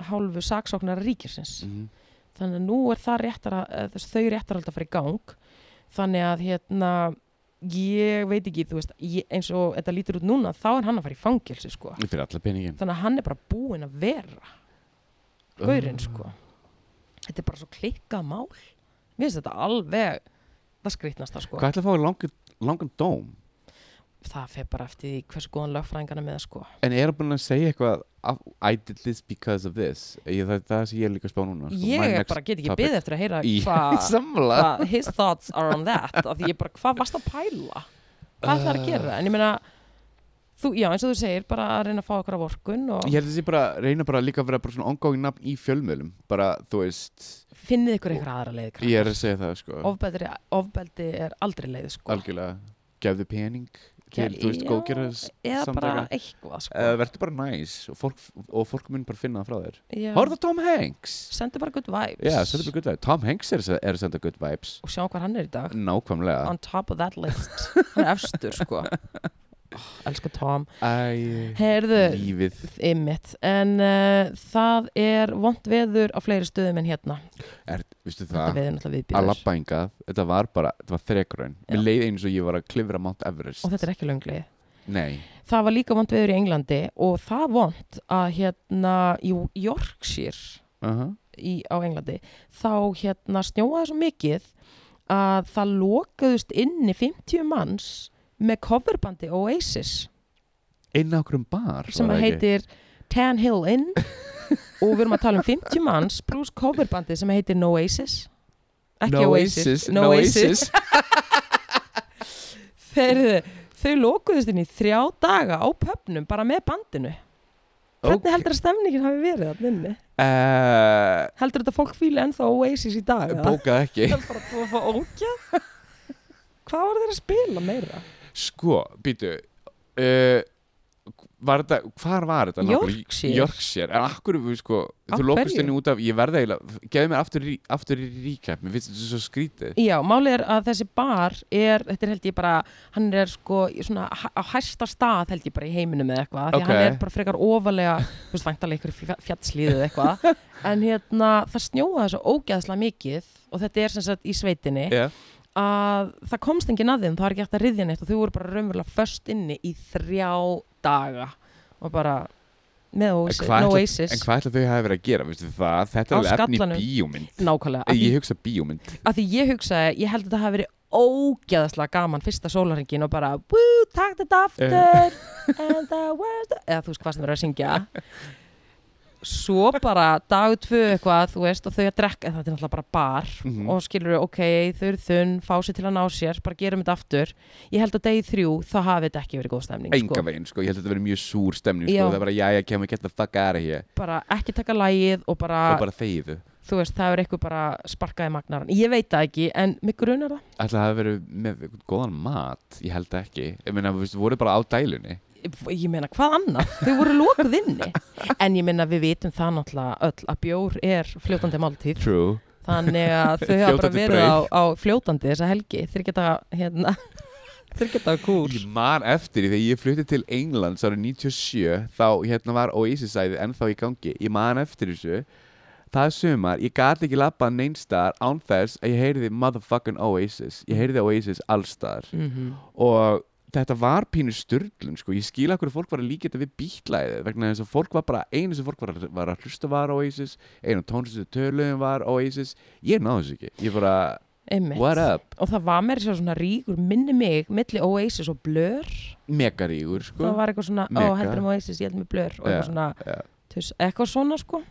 hálfu saksóknar ríkisins mhm. þannig að nú er það réttar að þess, þau réttar að fara í gang þannig að hérna ég veit ekki, þú veist, ég, eins og þetta lítur út núna, þá er hann að fara í fangilsi sko. Fyrir alla peningin þannig að hann er bara búinn að vera gaurinn Mm. sko þetta er bara svo klikkað mál mér finnst þetta alveg það skrýtnasta sko Hvað ætla að fá í langan, langan dóm? það fer bara eftir því hversu góðan lögfræðingana með sko En er hann búin að segja eitthvað af- I did this because of this ég, Það, það sem ég er líka að spá núna sko. ég My er next bara get ekki topic. byggð eftir að heyra Í- hvað Samla hva his thoughts are on that af því ég bara hvað varst að pæla hvað uh. ætlar að gera en ég meina þú, já eins og þú segir bara að reyna að fá okkur á vorkun og Ég held að þessi bara reyna bara líka að vera bara svona ongoing nafn í fjölmiðlum bara þú veist finnið ykkur einhver aðra leið krakkar. ég er að segja það sko ofbeldi, ofbeldi er aldrei leið sko algjörlega gefðu pening til Ge- þú veist já, góðgerðar eða bara samtaka eitthvað sko uh, verður bara næs og fólk, og fólk mun bara finna það frá þér Já. Horfðu á Tom Hanks sendu bara good vibes Já, sendu bara good vibes Tom Hanks er, að- er að senda good vibes og sjá hvað hann er í dag Nákvæmlega on top of that list hann er efstur sko oh, elsku Tom Æ, heyrðu lífið ymmit en uh, það er vond veður á fleiri stöðum en hérna er, Vistu þetta það, veður er náttúrulega að viðbjörður labba hingað Þetta var bara, þetta var þrekraun Já. Mér leið eins og ég var að klifra Mount Everest og þetta er ekki lönglið Nei, það var líka vond veður í Englandi og það vond að hérna í Yorkshire uh -huh. í, á Englandi þá hérna snjóaði svo mikið að það lokaðust inni 50 manns með coverbandi Oasis inn á okkur um bar sem var að það ekki? heitir Tan Hill Inn og við erum að tala um 50 manns pluss coverbandi sem heitir Noasis ekki Oasis, Noasis. Þeir, þau lokuðust inn í þrjá daga á pöpnum bara með bandinu hvernig Ok. heldur að stemningin hafi verið að minni? Eh, heldur þetta að fólk fíli ennþá Oasis í dag? eða? Bókað ekki Það er bara búið að fá ógja Hvað var þeir að spila meira? Sko, býtu uh, Var þetta, hvar var þetta? nákvæmlega? Yorkshire. Yorkshire, en akkur við sko Af Þú lókast hverju? henni út af, ég verða eiginlega Gefðu mér aftur, í- aftur í ríkæp Mér finnst þetta svo skrítið Já, málið er að þessi bar er, þetta er held ég bara, hann er sko í svona hæ- á hæsta stað held ég bara í heiminum eða eitthvað, því Ok. að hann er bara frekar ofalega, þú veist, væntalega ykkur í fjallslíðu eða eitthvað, en hérna það snjóaði svo ógeðslega mikið og þetta er sem sagt í sveitinni Já. að það komst enginn að þeim, það var ekki hægt að riðja neitt og þau voru bara raunverulega föst inni í þrjá daga og bara með En Oasis, hvað no ætla- Oasis. En hvað ætla þau hafi verið að gera, veistu það Þetta Á er alveg efni skallanum. í bíómynd Nákvæmlega, af því, Sko- Ég hugsa bíómynd af því ég hugsaði, ég held að þetta hafi verið ógeðaslega gaman fyrsta sólarringin og bara, woo, takk þetta aftur and the world eða þú veist hvað sem verður að syngja svo bara dag tvö eitthvað, þú veist, og þau að drekka þetta er náttúrulega bara bar Mhm. og skilur ok, þau eru þunn, fá sér til að ná sér bara gerum þetta aftur, ég held að degi þrjú þá hafi þetta ekki verið góð stemning Enga veginn, sko, ég held að þetta verið mjög súr stemning Já. sko. Það er bara, jæja, kemur geta fuck out of here bara ekki taka lægið og bara, Og bara þegiðu þú veist, það er eitthvað bara sparkaði magnaran, ég veit það ekki en mig grunar það Ætla það hafi verið með einhvern góðan mat Ég held ekki Ég meina, veistu, voru bara á dælunni ég meina hvað annað, þau voru lokuð inni en ég meina við vitum það náttúrulega öll að bjór er fljótandi máltíð True þannig að þau hafa bara Fljótandi verið á, á fljótandi þessa helgi, þeir geta hérna, þeir geta á kúr Ég man eftir því þegar ég flutti til Englands árið 97 þá hérna var Oasis-æðið ennþá í gangi ég man eftir þessu það sumar, ég gati ekki labbað neinstar án þess að ég heyrði motherfucking Oasis ég heyrði Oasis allstar mm og þetta var pínu styrlun sko. ég skil að hverju fólk var að líka þetta við bítlæðið vegna þess að fólk var bara einu sem fólk var að, var að hlusta var Oasis einu tónlistu töluðum var Oasis ég náðu þessu ekki, ég bara what up, og það var mér sér svona ríkur minni mig, milli Oasis og Blur megarígur sko. það var eitthvað svona, ó Mega. heldur um Oasis, ég held með Blur og eitthvað Já, svona, já. tuss, eitthvað svona sko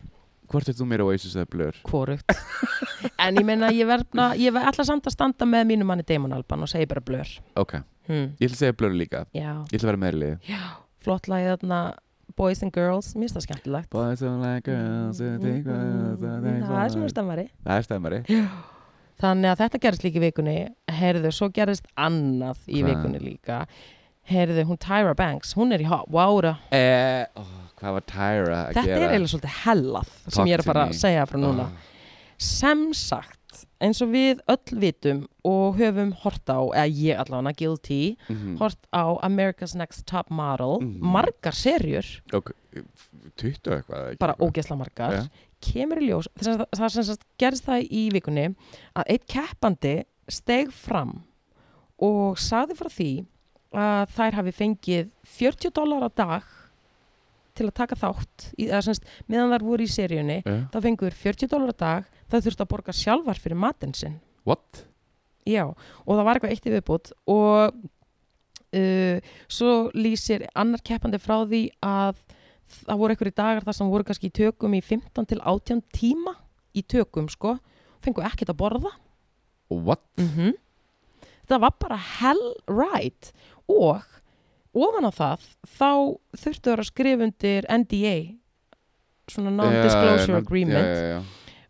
hvort er þú meira Oasis eða Blur? kvorugt en ég meina, ég verðna, ég verð alltaf samt að standa með mínum manni Damon Alban og segi bara Blur ok hm, Hmm. Ég ætla að segja blöru líka já Ég ætla að vera meðlið flott lagið þarna boys and girls, mér finnst það skemmtilegt Mm, Boys are like girls who think girls are like það er svona boys. stemmari Það er stemmari þannig að þetta gerist líka í vikunni heyrðu, svo gerist annað í Hvað? vikunni líka heyrðu, hún Tyra Banks, hún er í hot water eh, ó, Hvað var Tyra að þetta gera? er eiginlega svolítið hellað Talk sem ég er to að fara me. Ah. að segja frá núna sem sagt, eins og við öll vitum og höfum hort á, eða ég allavega guilty, eiginlega hort á America's Next Top Model Mhm. margar serjur, og 20 eitthvað eða ekki bara eitthvað? ógeðsla margar Já. kemur í ljós, þess að það sem sagt gerist það í vikunni að eitt keppandi steg fram og sagði frá því að þær hafi fengið 40 dólar á dag til að taka þátt í, eða, semst, meðan þær voru í seríunni Já. þá fengur 40 dólar á dag það þurfti að borga sjálfar fyrir matinn sinn What? Já, og það var eitthvað eitt í viðbútt og uh, svo lýsir annar keppandi frá því að það voru einhverju dagar þar sem voru kannski í tökum í 15 til 18 tíma í tökum sko, fengu ekkert að borða What? mm Mhm. Það var bara hell right og ofan á það þá þurftu þau að skrifa undir NDA svona Já, já, non-disclosure já, agreement já, já, já.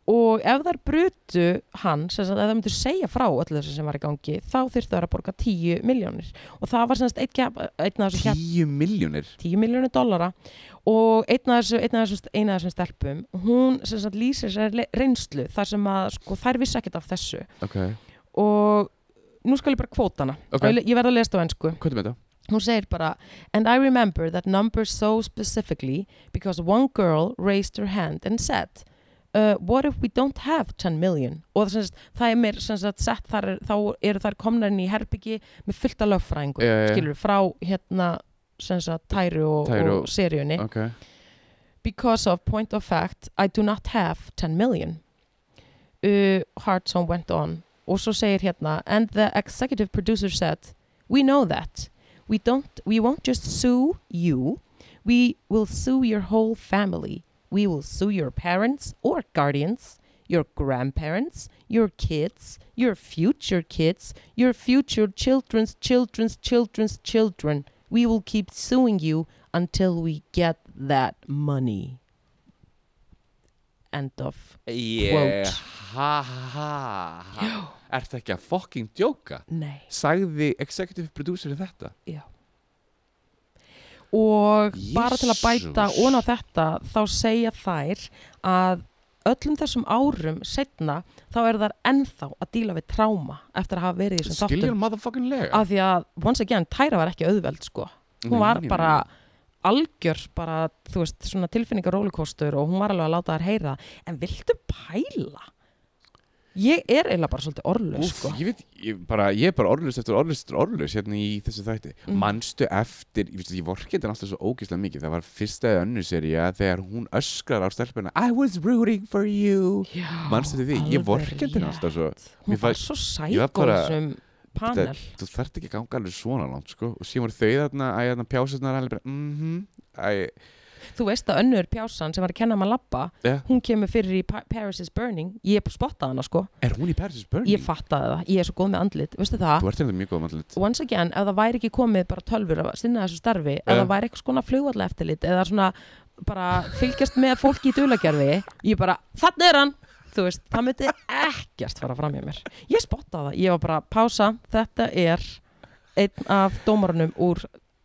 og ef þær brutu hann, sem sagt, ef þær myndu segja frá öllu þessu sem var í gangi, þá þyrftu þær að borga 10 miljónir og það var sem sagt einn, kepp, einn af þessu kepp, 10 miljónir 10 miljónir dollara og einn af þessu, einn af þessu, einn af þessum stelpum hún sem sagt lýsir sér le- reynslu þar sem að sko þær vissi ekkert af þessu Ok, og nú skal ég bara kvóta hana Ok. Og ég, ég verð að lesa það á ennsku hvað er með þetta? hún segir bara and I remember that number so specifically because one girl raised her hand and said uh, what if we don't have 10 million og það, sem sagt, það er mér sem sagt sett þar er, þá eru þær komnar inn í herbyggi með fullta lögfræðingu Já, já, já. skilur frá hérna sem sagt tæru og, Tæru og- og seríunni Ok, because of point of fact I do not have 10 million uh, Hartson went on og svo segir hérna and the executive producer said we know that we, don't, we won't just sue you we will sue your whole family we will sue your parents or guardians your grandparents your kids your future kids your future children's children's children's children we will keep suing you until we get that money. End of. yeah. ha ha ha Ertu ekki að fucking djóka? Nei. Sagði executive producer þetta? Og bara til að Jesus. bæta ón á þetta þá segja þær að öllum þessum árum setna þá eru þar ennþá að díla við tráma eftir að hafa verið í þessum Skiljan þáttum. motherfucking lega Af því að, once again, Tæra var ekki auðveld sko. Hún var bara algjör bara, þú veist, svona tilfinningar rollercoaster og hún var alveg að láta þær heyra það. en viltu pæla? Ég er eiginlega bara svolítið orðlaus Úf, sko. ég veit, ég, bara, ég er bara orðlust eftir orðlust eftir orðlust hérna í þessu þætti Mm. manstu eftir, ég, veist, ég vorki þetta alltaf svo ógeðslega mikið, það var fyrsta eða önnu sería þegar hún öskrar á stelpuna I was rooting for you Já, manstu þetta því, ég vorki alveg þetta rétt. alltaf svo Hún Mér var fannst- svo ég var bara- sækóð sem panel þú þarft ekki að ganga alveg svona langt sko. og síðan voru þau þarna, æ, þarna pjásarnar alveg bara, mhm, æ, Þú veist að önnur pjásan sem var að kenna maður labba Ja. hún kemur fyrir í Pa- Paris is Burning ég spottaði hana sko, er hún í Paris is ég Burning? fattaði það ég er svo góð með andlit, veistu það Mm. þú ert hérna mjög góð mannlit once again, ef það væri ekki komið bara tölfur að sinna þessu starfi, ef Ja. það væri eitthvað svona flugvalla eftirlit eða svona bara fylgjast með fólki í dulagerfi ég bara, þannig er hann þú veist, það myndi ekkert fara fram hjá mér ég spottaði það, ég var bara pása þetta er einn af dómarunum úr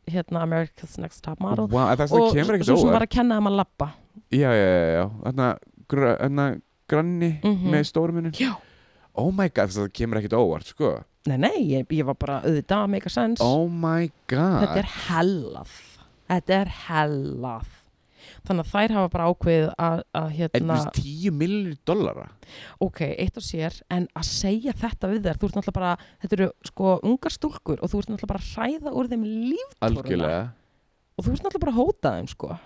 hérna America's Next Top Model wow, en það sem það og kemur svo ekkert sem óvart var að kenna þeim að labba já, já, já, já. Þarna, gr þarna granni Mhm. með stórumunnin Já. oh my god, það kemur ekkert óvart sko. nei, nei, ég, ég var bara auðvitað að make a sense oh my god þetta er hellað þetta er hellað þannig að þær hafa bara ákveðið að, að en þú hérna, veist 10 millir dollara ok, eitt og sér en að segja þetta við þær þú ert náttúrulega bara, þetta eru sko ungar stúlkur og þú ert náttúrulega bara að hræða úr þeim líf algjörlega og þú ert náttúrulega bara að hóta þeim sko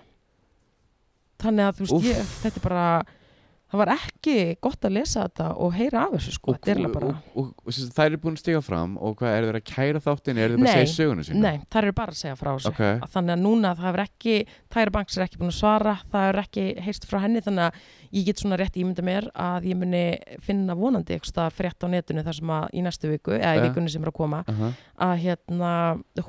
þannig að þú veist, Úff. ég, þetta er bara það það var ekki gott að lesa þetta og heyra af þessu sko, og, þetta er eiginlega og, bara og, og, og sem sagt, þær eru búin að stiga fram og hvað, eru þeir að kæra þáttin eru þeir bara Nei. að segja söguna sína Nei, það eru bara að segja frá þessu ok, Að þannig að núna það hefur ekki Tyra Banks er ekki búin að svara, það hefur ekki heyrst frá henni þannig að ég get svona rétt ímynda mér að ég muni finna vonandi eitthvað staðar frétt á netinu þar sem að í næstu viku eða í Ja. vikunni sem er að koma uh að hérna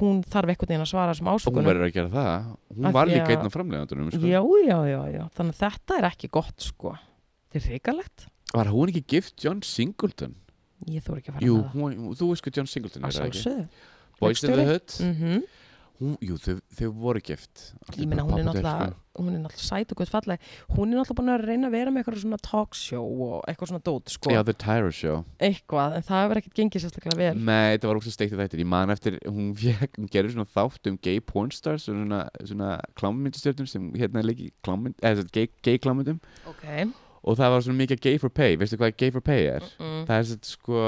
hún þarf einhvern veginn að svara þessum og hún ásökunum verður að gera það hún Af var því líka að- einn af framlegandunum sko. já, já, já, já, þannig að þetta er ekki gott sko, þetta er reikalegt var hún ekki gift John Singleton ég þór ekki að fara jú, með hún, þú veist hvað John Singleton það að er það ekki sjálfsögðu Boys in the Leikstjóri. Hood mm hún, jú, þau, þau voru gift Allt ég meina bara hún er pappa til, náttúrulega sko. hún er náttúrulega sæt og gutt falleg hún er náttúrulega búin að reyna að vera með eitthvað svona talkshow og eitthvað svona dót sko já, The Tyra Show eitthvað, en það hefur ekkert gengið sérstaklega vel Nei, þetta var ógst að steikta þættir Ég man eftir, hún, fekk, hún gerði svona þátt um gay pornstars svona, svona klámyndistjörnum sem hérna er líki klámynd, eða sem sagt gay, gay klámyndum ok og það var svona mikið gay for pay Veistu hvað gay for pay er? mm. Það er svona sko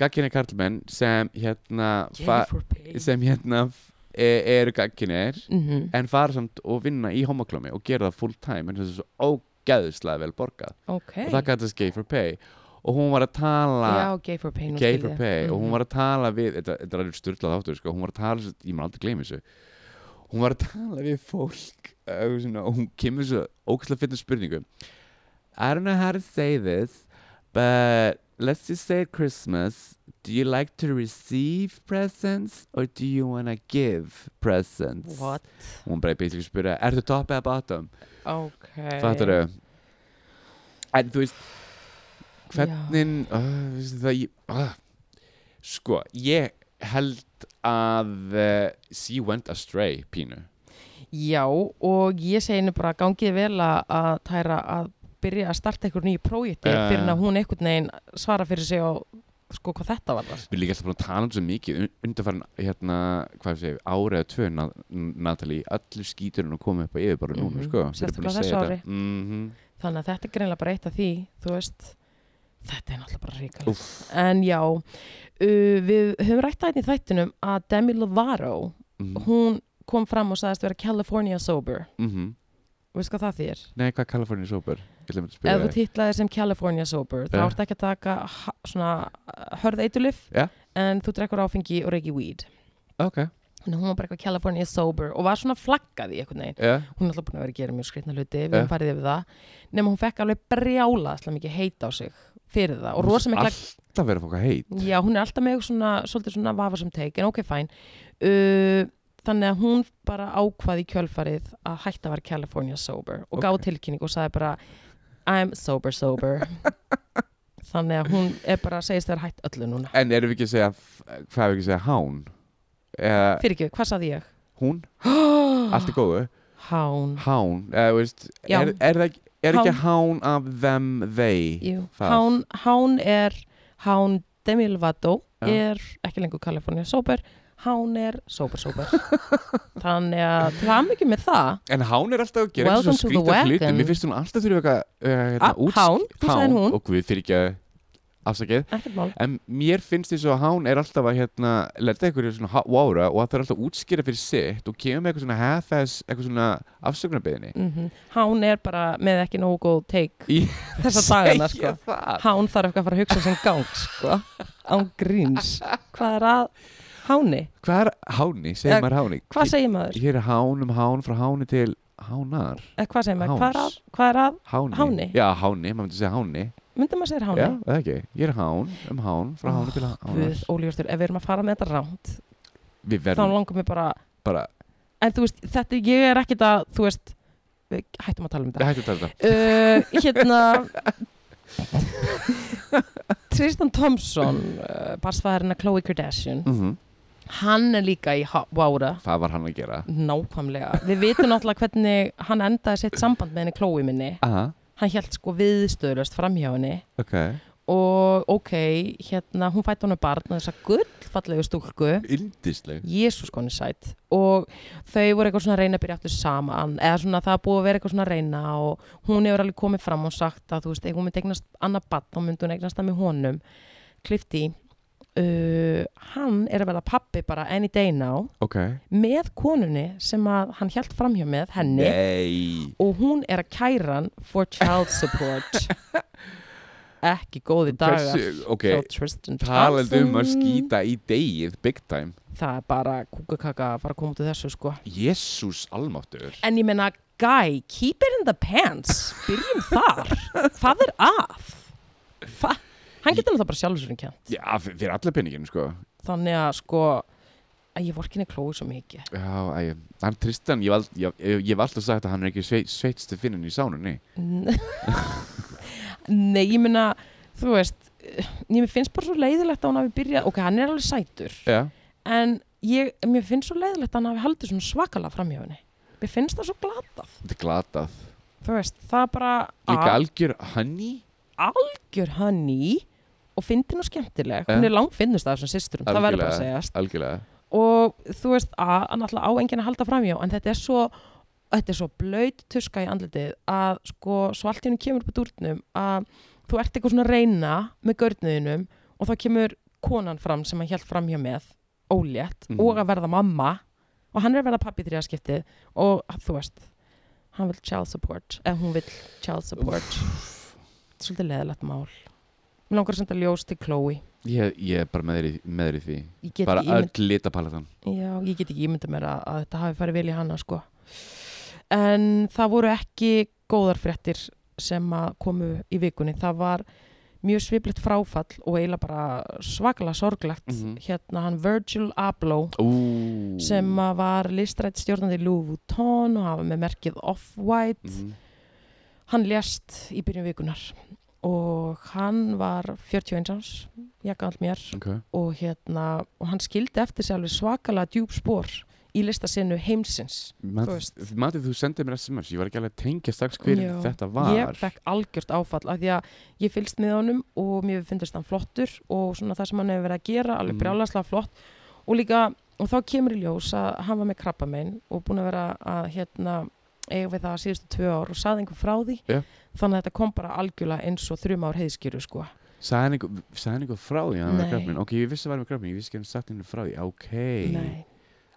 gagkinni karlmenn sem hérna fa- for pay sem hérna e- eru gagkinir mm -hmm. en fara samt og vinna í homoklámi og gera það full time en það er svo ógeðslega vel borgað ok, og það gæti þess gay for pay og hún var að tala já, gay for pay, nú Gay skil for ég. Pay og hún Mhm. var að tala við þetta, þetta er alveg styrlað áttur sko, hún var að tala, ég maður aldrei gleymi þessu hún var að tala við fólk uh, svona, og hún kemur svo ógæslega fyrir spurningu I don't know how to say this but let's just say at Christmas do you like to receive presents or do you want to give presents what, og hún bara basically spyrja ertu top eða bottom ok fattar þau en þú veist hvernig uh, það, ég, uh, sko, ég held að uh, she went astray pínu Já, og ég segi henni bara gangið vel að, að tæra að byrja að starta einhver nýju prójekti Já, fyrir en já. að hún einhvern veginn svara fyrir sig á sko hvað þetta var það. við erum líka alltaf búin að tala um svo mikið un- undanfarin hérna, hvað ég segi, ári eða tvö Na- Natalie, allur skíturinn að koma upp á yfir bara Mhm. núna, sko Við erum búin Sérstaklega að þessu segja ári. þetta. Mhm. Þannig að þetta er greinlega bara eitt af því, þú veist, þetta er náttúrulega bara ríkalegt. Úff. En já, uh, við höfum rætt aðeins í þættinum að Demi Lovato, Mhm. hún kom fram og sagðist vera California sober. Mhm. Veist hvað það þýr? Nei, hvað California Sober? Ég ætla að spyrja Ef þú þig. titlaðir sem California sober, þá Já. ertu ekki að taka ha- svona uh, hörð eitulif, Já. en þú drekkur áfengi og reykir weed. Ok, Þannig að hún var bara eitthvað California sober og var svona flaggað í einhvern veginn. já, Hún er alltaf búin að vera að gera mjög skrifna hluti, við Ja. hefum farið yfir það. Nefnum hún fekk alveg brjála, slá mikið heita á sig fyrir það. Og rosa mikla, alltaf verið að fóka heit já, hún er alltaf með svona, svolítið svona vafasum teik, en ok, fæn. Uh, þannig að hún bara ákvaði í kjölfarið að hætta að vera California sober og okay. gáð Ok. tilkynning og sagði bara I'm sober sober. þannig að hún er bara að segist þegar hætt öllu núna. En erum við ekki að segja, f- hvað erum við ekki að segja, hán? Eh, Fyrir ekki, hvað saði ég? hún, allt er góðu Hán. Hán, eða veist Já. er, er, það ekki- er ekki hán af them, they Jú, Það. hán, hán er Hán Demi Lovato Já. er ekki lengur California Sober Hán er Sober Sober Þannig að til hann ekki með það En hán er alltaf að Welcome gera eitthvað to the skrýta hluti wagon. Mér finnst hún alltaf þurfa eitthvað uh, A, Ah, Hán, þú sagði hún, og við fyrir ekki að afsakið ekkert mál En mér finnst þess að hán er alltaf að hérna, leta eitthvað svona há- vára og að það er alltaf að útskýra fyrir sitt og kemur með eitthvað svona half-ass, eitthvað svona afsökunarbeðinni mm Hán er bara með ekki nógu góð take Í- þessa dagana sko það Hán þarf eitthvað að fara að hugsa sem gang sko Án gríns Hvað er að Háni? Hvað er háni? Segir Eh, maður háni? Hvað segir maður? Hér er hán um hán frá háni til hánar Eh, Hvað segir maður? Hvað Háns. er að, hvað er að? Háni? Háni? Já, háni, maður myndi segja háni Myndum maður segir háni? Já, eða ekki, ég er hán, um hán, frá hánu til hán Guð, óljóstur, ef við erum að fara með þetta ránt Við þá verðum langar mér bara bara, en þú veist, þetta, ég er ekkit að þú veist, við hættum að tala um Nei, hættu að tala þetta þetta uh, hérna Tristan Thompson uh, barsfæðarinn að Khloe Kardashian Mhm. hann er líka í Ha- Vára Hvað var hann að gera? nákvæmlega, við vitum náttúrulega hvernig hann endaði sitt samband með henni Khloe minni Aha, hann hélt sko viðstöðlöst framhjá henni ok og ok, hérna hún fætti honum barn og þessa gullfallegu stúlku Yndisleg Jésús koni sætt og þau voru eitthvað svona að reyna að byrja aftur saman eða svona það er búið að vera eitthvað svona að reyna og hún hefur alveg komið fram og sagt að þú veist, ef hún myndi eignast annað batt þá myndi hún eignast það með honum klifti uh, hann er að verða pappi bara any day now ok með konunni sem að hann held framhjá með henni Nei og hún er að kæra hann for child support ekki góði dagar Hversu- ok, hjá Tristan Talandi um að Thompson. skýta í degið big time það er bara kúkakaka að fara að koma út af þessu sko Jésús almáttur en ég meina, guy, keep it in the pants byrjum þar hvað er að Hva? hann getur náttúrulega bara sjálfur sér kjent Já, f- fyrir alla penningin sko þannig að sko að ég vorkinni klói svo mikið Já, æ, hann Tristan, ég hef al- ég- ég hef alltaf sagt að hann er ekki svei, sveitstu finninn í sánunni N- nei, ég meina þú veist, eh, ég mér finnst bara svo leiðilegt að hann hafi byrjað, ok, hann er alveg sætur Já, en ég, mér finnst svo leiðilegt að hann hafi haldið svona svakalega framhjóðinni mér finnst það svo glatað þetta er glatað þú veist, það er bara Líka að- algjör honey algjör hann í og fyndin og skemmtileg, hún Ja. er langt finnust af þessum systrum, það verður bara að segjast Algjörlega og þú veist að hann alltaf á enginn að halda framjá en þetta er svo þetta er svo blöyt tuska í andlitið að sko svo allt í hennu kemur upp á dúrnum að þú ert eitthvað svona að reyna með görnuðinum og þá kemur konan fram sem hann hjælt framjá með ólétt Mhm. og að verða mamma og hann er að verða pappi þrjaskiptið og að, þú veist hann vil child support eða hún vil child support svolítið leðilegt mál mér langar að senda ljós til Chloe Ég, ég er bara með þér í, með þér í því ég get Bara ekki ímynd öll litapaletan Já, ég get ekki ímynda mér að, að þetta hafi farið vel í hana sko. En það voru ekki góðar fréttir sem að komu í vikunni. Það var mjög sviplitt fráfall og eiginlega bara svaklega sorglegt. Mhm. Hérna hann Virgil Abloh Ú sem að var listrætt stjórnandi í Louis Vuitton og hafa með merkið Off-White. Mhm. Hann lést í byrjun vikunar og hann var 41 árs, ég galt mér Ok og hérna og hann skildi eftir sig alveg svakalega djúb spór í listasinu heimsins Þú Matið, veist. þú, Matið, þú sendið mér SMS, ég var ekki alveg að tengja strax hver Já. þetta var ég fekk algjört áfall af því að ég fylgst með honum og mér finnst hann flottur og svona það sem hann hefur verið að gera alveg Mhm. brjálaslega flott og líka, og þá kemur í ljós að hann var með krabbamein og búin að vera að hérna eiga við það síðustu tvö ár og saði einhver frá því Já. þannig að þetta kom bara algjörlega eins og þrjum ár heiðskýru sko Sagði hann einhver- sagði hann eitthvað frá því að hann var Nei. með krabbin Ok, ég vissi að hann var með krabbin, ég vissi ekki að hann sagt henni frá því Ok, Nei.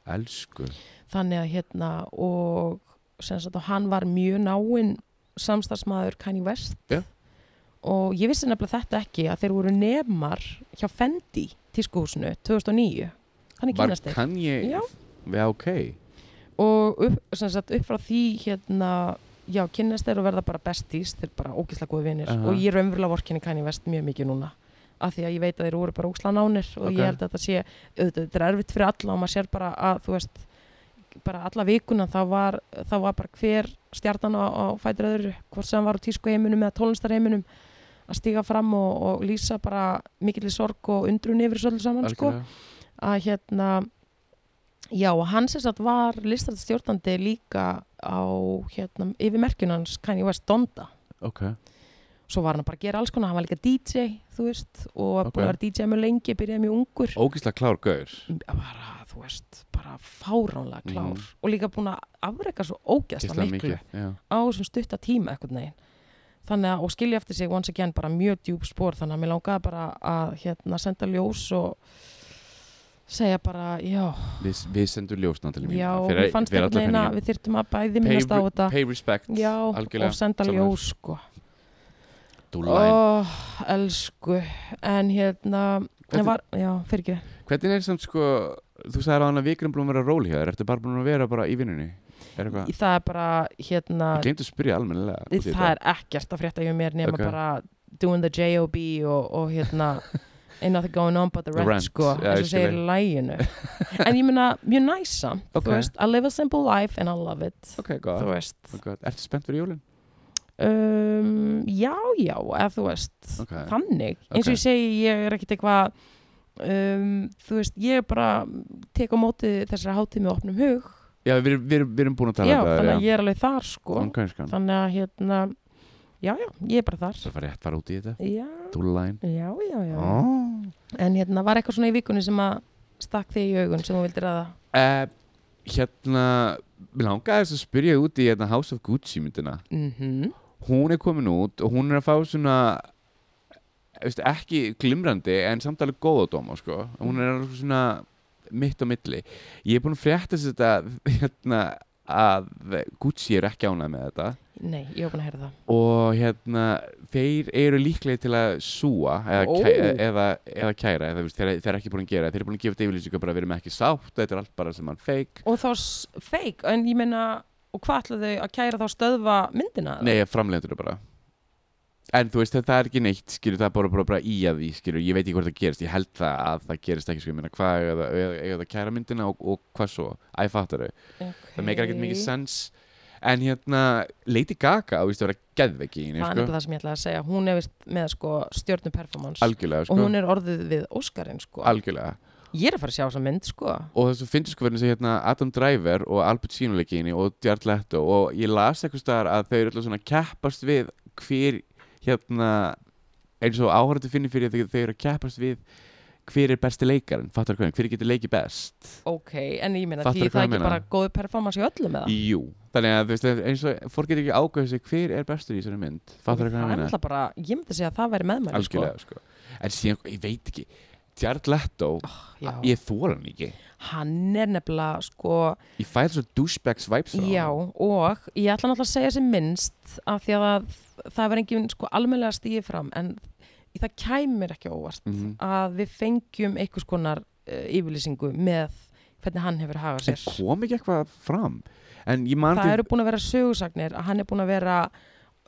elsku þannig að hérna og sem sagt og hann var mjög náinn samstarfsmaður Kanye West Já. og ég vissi nefnilega þetta ekki að þeir voru nefnar hjá Fendi tískuhúsinu 2009 þannig Var kynast þeir kann ég Já. Já, ok og upp, sem sagt, upp frá því hérna já kynast þeir og verða bara besties þeir bara ógislega góði vinir Aha. og ég raunverulega vorkinni Kanye West mjög mikið núna af því að ég veit að þeir voru bara ógislega nánir og Ok. ég held að þetta sé auðvitað, þetta er erfitt fyrir alla og maður sér bara að þú veist bara alla vikuna þá var, þá var bara hver stjarnan á, á fætur öðru hvort sem hann var á tísku heiminum eða tónlistarheiminum að stíga fram og, og lýsa bara mikilli sorg og undrun yfir þessu öllu saman sko Algjörlega. að hérna já og hann sem sagt var listrætt stjórnandi líka á hérna yfir merkjun hans Kanye West Donda Ok, svo var hann að bara gera alls konar, hann var líka DJ þú veist og var búin Ok. að vera DJ mjög lengi, byrjaði mjög ungur ógislega klár gaur bara þú veist, bara fáránlega klár Mhm. og líka búin að afreka svo ógæsla Geislega miklu mikið, já. á þessum stutta tíma eitthvað neginn þannig að, og skilja eftir sig once again bara mjög djúb spór þannig að mér langaði bara að hérna senda ljós og segja bara, já, Við, við sendum ljósnandali mín Já, mér fannst fyrir einhvern veginn að alla peningin við þyrtum að bæði Pay minnast á re- þetta Pay respect, Já, og algjörlega senda sammála. ljós sko do line Ó, elsku En hérna, Hvernig- Hvernig? var, já, fyrir ekki Hvernig er samt sko, þú sagði að hann að vikurinn búin að vera róli hjá þér Ertu bara búin að vera bara í vinnunni? Er eitthvað? Það er bara, hérna Ég glemt að spyrja almennilega út í Það þetta. er ekkert að frétta hjá mér nema Ok. bara doing the J.O.B. og, og hérna ain't nothing going on but the The rent, rent, sko já, eins og ég segir í læginu En ég meina, mjög næsa Ok. Þú veist, I live a simple life and I love it Ok, gott Þú veist Ok, Ertu spennt fyrir jólinn? um, Já, já, eða þú veist Ok. þannig, eins og Ok. ég segi ég er ekkit eitthvað um, þú veist, ég er bara tek á móti þessari hátíð með opnum hug Já, við, erum- við, erum- við erum búin að tala já, um það þannig að ég er alveg þar sko okay, skan. þannig að hérna já, já, ég er bara þar Það var rétt fara út í þetta já, Dúllæn já, já, já oh. en hérna var eitthvað svona í vikunni sem að stakk þig í augun sem þú vildir að uh, Hérna Mér langaði þess að spyrja út í hérna, House of Gucci myndina mm -hmm. Hún er komin út og hún er að fá svona veist, ekki glimrandi en samt alveg góð á dóma sko. hún er alveg svona mitt á milli ég er búin að frétta sér þetta hérna, að Gucci er ekki ánað með þetta Nei, ég hef búin að heyra það. og hérna þeir eru líklega til að súa eða, Ó. kæ, eða, eða kæra eða, þú veist, þeir, þeir eru ekki búin að gera það. þeir eru búin að gefa deyfilýsingu bara að við erum ekki sátt þetta er allt bara sem hann feik Og þá s- fake, en ég meina, og hvað ætla þau að kæra þá stöðva myndina? eða? nei, framlendur bara en þú veist það er ekki neitt skilur það er bara, bara, bara í að því skilur ég veit ekki hvort það gerist ég held það að það gerist ekki skilur minna hvað eiga það- eiga eiga það að kæra myndina og, og hvað svo æ fattar þau okay. það meikar ekkert mikið sens en hérna Lady Gaga á víst að vera geðveki í henni Það er nefnilega sko. það sem ég ætla að segja. Hún er vist með sko stjórnum performance algjörlega sko. og hún er orðið við Óskarinn sko. algjörlega Ég er að fara að sjá þessa mynd sko. og þess að finnst sko verðin sem hérna Adam Driver og Al Pacino leika í henni og Jared Leto og ég las eitthvað staðar að þau eru alltaf svona að keppast við hver hérna eins og áhörðu finnir fyrir þegar þau eru að keppast við hver er besti leikarinn, fattar hvernig, hver getur leikið best Ok, en ég meina Fattar því það hvað er ég ekki meina? bara góð performance í öllum eða? Jú, þannig að þú veist eins og fólk getur ekki ákveðið sig hver er bestur í þessari mynd fattar það hvernig er að meina alltaf bara, ég myndi segja að það væri meðmæli sko. algjörlega sko. en síðan, ég veit ekki Jared Leto, Já. ég þóra hann ekki Hann er nefnilega sko, ég fæði svo douchebags vibes frá já honum. og ég ætla náttúrulega að segja sem minnst af því að það var engin sko almennlega stíði fram en það kæmir ekki á óvart Mhm. að við fengjum einhvers konar uh, yfirlýsingu með hvernig hann hefur hagað en sér. kom ekki eitthvað fram en ég man það eru búin að vera sögursagnir að hann er búin að vera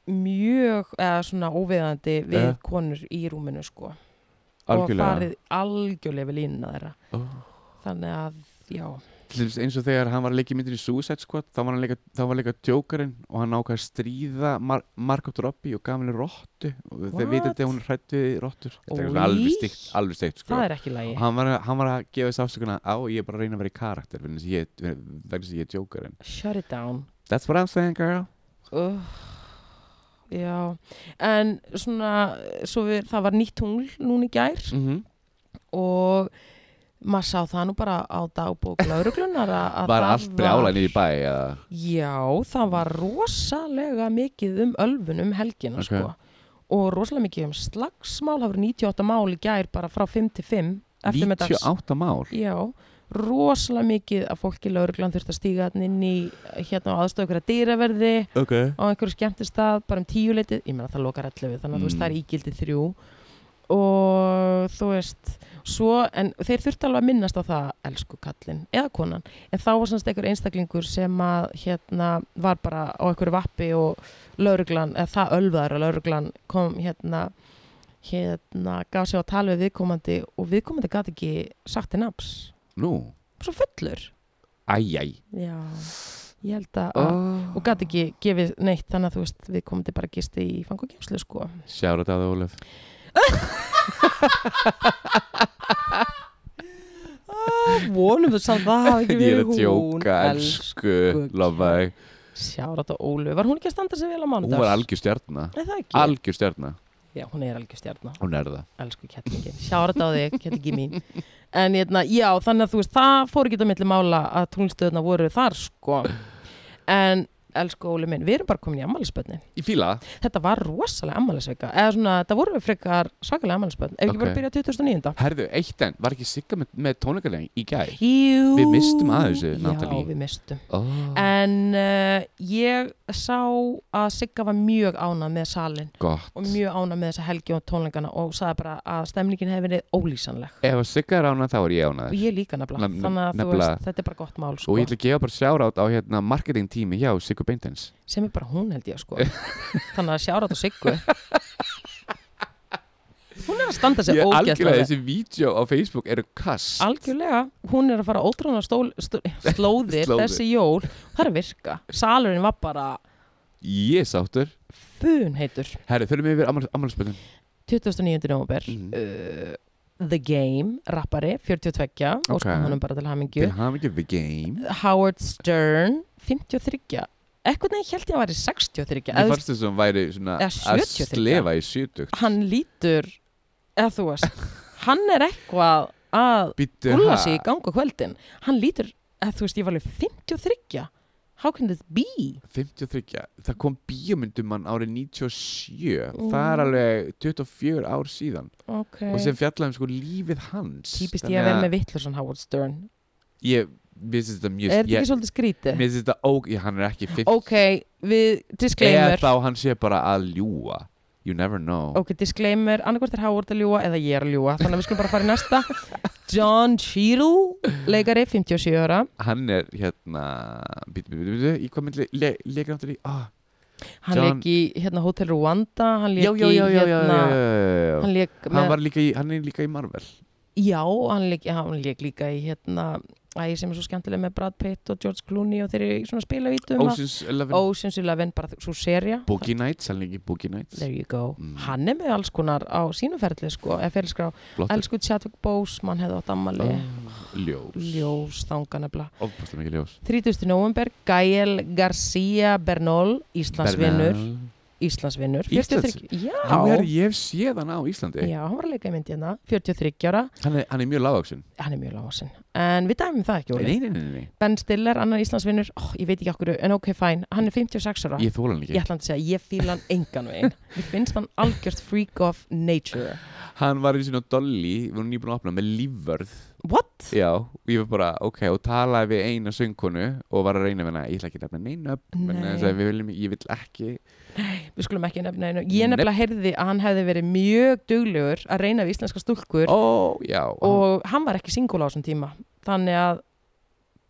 mjög eða svona óviðandi við Ja. konur í rúminu sko og Eh. algjörlega farið algjörlega við línuna þeirra Ó. þannig að já, Til dæmis eins og þegar hann var að leika í myndinni Suicide Squad þá var hann að leika, þá var hann að leika Jokerinn og hann ákvað að stríða Mar Margot Robbie og gaf henni róttu og þeir What? vita að hún hrætti róttur þetta er Ói. svona alveg stygt, alveg stygt sko. það er ekki lægi Og hann, var að, hann var að gefa þessu ásökuna á ég er bara að reyna að vera í karakter vegna þess að ég- vegna þess að ég er Jokerinn shut it down That's what I'm saying girl uh, já en svona svo við, það var nýtt tungl núna í gær mm og maður sá það nú bara á dagbók lauruglunar að að Var það allt brjálæni í bæ eða? Já, það var rosalega mikið um ölfun um helgina Ok. sko og rosalega mikið um slagsmál, það voru 98 mál í gær bara frá 5 til 5 eftirmiddags. 98 mál Já, rosalega mikið að fólki lauruglan þurfti að stíga þarna inn í hérna á aðstöðu ykkur að dýraverði okay. á einhverju skemmtistað, bara um tíu leitið ég meina það lokar 11, þannig að þú veist Mm. það er ígildi þrjú og þú veist svo, en þeir þurftu alveg að minnast á það elsku kallinn, eða konan en þá var semst einhver einstaklingur sem að hérna var bara á einhverju vappi og lauruglan, eða það ölvaður að lauruglan kom hérna hérna, gaf sér á tal við viðkomandi og viðkomandi gat ekki sagt til nafns, Nú, svo fullur æjæj já, ég held að oh. og gæti ekki gefið neitt þannig að þú veist við komum til bara gisti í fangokjæmslu sko Sjára þetta að Ólef vonum við samt að það hafi ekki Ég er verið að djóka, elsku, lofa þig sjára þetta Ólu, var hún ekki að standa sig vel á Hún mánudags? var algjör stjarnar Nei, það ekki, Algjör stjarnar já hún er algjör stjarnar Hún er það elsku kettlingin, sjára þetta á þig kettlingin mín, en hérna, já þannig að þú veist, það fór ekki á milli mála að tónlistöðna voru þar sko en elsku Ólu minn, við erum bara komin í ammælisbönni, Í fíla það? þetta var rosalega ammælisveika, eða svona, þetta voru frekar svakalega ammælisbönn, ef ekki bara Ok. að byrja 2009 Herðu, eitt enn Var ekki sigga með, með tónleikarlegin í gær? Jú, Við mistum af þessu, Natalie. Já, við mistum Oh. En uh, ég sá að Sigga var mjög ánað með salin Gott og mjög ánað með þessa helgi og tónleikana og sagði bara að stemningin hefði verið ólýsanleg Ef að sigga er ánað þá er ég og ánað ég líka nefnilega, Nef- nef- þannig að þú nefnilega. veist þetta er bara gott mál Og sko, ég ætla að gefa bara sjárátt á hérna marketing tími hjá Siggu Beintens sem er bara hún held ég sko þannig að sjára þetta Siggu Hún er að standa Ég sér er algjörlega ógeðslega vel. þessi vídeo á Facebook eru kast Algjörlega, hún er að fara ótrúna stól, stó, slóðir Slóðir. þessi jól, það er að virka salurinn var bara Ég er sáttur fun heitur Herðu, þurfum við yfir ammálspöldin 29. november uh, The Game, rappari, 42 Ok. og sko honum bara til hamingju Til hafa ekki the game Howard Stern, 53 eitthvað neginn held ég að væri 63 Mér eða fannst þess að hún væri svona Eða að 70 slefa í 70 hann lítur eða þú veist, hann er eitthvað að Býttu gúlla sig í gangu kvöldin hann lítur, eða þú veist, ég var alveg 53 How can this be? 53, það kom bíómyndum mann árið 97 Ú. það er alveg 24 ár síðan Ok. og sem fjallaðum sko lífið hans Típist ég að vera með vittlursan Howard Stern. ég, mér finnst þetta mjög er þetta ég, ekki svolítið skrítið? mér finnst þetta óg, ég, hann er ekki 50 Ok, við, eða disclaimer. þá hann sé bara að ljúa you never know Ok, disclaimer, annarkvært er Howard að ljúa eða ég er að ljúa, þannig að við skulum bara fara í næsta. John Cheadle, leikari, 57 ára. hann er hérna bítu, bítu, bítu, í hvað myndi le, leikir áttur í ah, Hann John- leik í hérna, Hotel Rwanda, hann leik já, já, í já, já, já, hérna... já, já, já. Hann leik Hann, með, var líka í, hann er líka í Marvel já, hann leik, hann leik líka í hérna, æ, sem er svo skemmtileg með Brad Pitt og George Clooney og þeir eru í svona spilavítum. Ocean's Eleven oh. Ocean's Eleven, bara svo seria. Boogie Nights, hann er líka í Boogie Nights There you go. Mm. Hann er með alls konar á sínu ferli, sko, eða ferilskrá. Flottur. Elsku Chadwick Boseman hefði átt ammali. Ah. ljós Ljós, þanganabla. ofbúslega mikið ljós 30. november, Gael García Bernol, Íslandsvinnur. Bernal. Íslandsvinnur. Íslands- 43 Já, Hann er, ég hef séð hann á Íslandi já, hann var að leika í myndi hérna. 43 ára, hann er, hann er mjög lágvaksinn hann er mjög lágvaksinn. En við dæmum það ekki, Óli. nei, nei, nei, nei. Ben Stiller, annar Íslandsvinnur, oh, ég veit ekki okkur, en ok, fæn, hann er 56 ára. ég þóla hann Ég ekki ætla að segja, ég fíla hann engan veginn. Mér finnst hann algjört freak of nature. hann var í sín og Dolly við erum nýbúin að opna með lífvörð What? já, og ég var bara, ok, og talaði við eina söngkonu og var að reyna við hana ég ætla ekki að nefna neina upp Nei. ég vil ekki Við skulum ekki nefna einu. Ég nefnilega heyrði að hann hefði verið mjög duglegur að reyna við íslenska stúlkur ó, já, hann- og hann var ekki singul á þessum tíma. Þannig að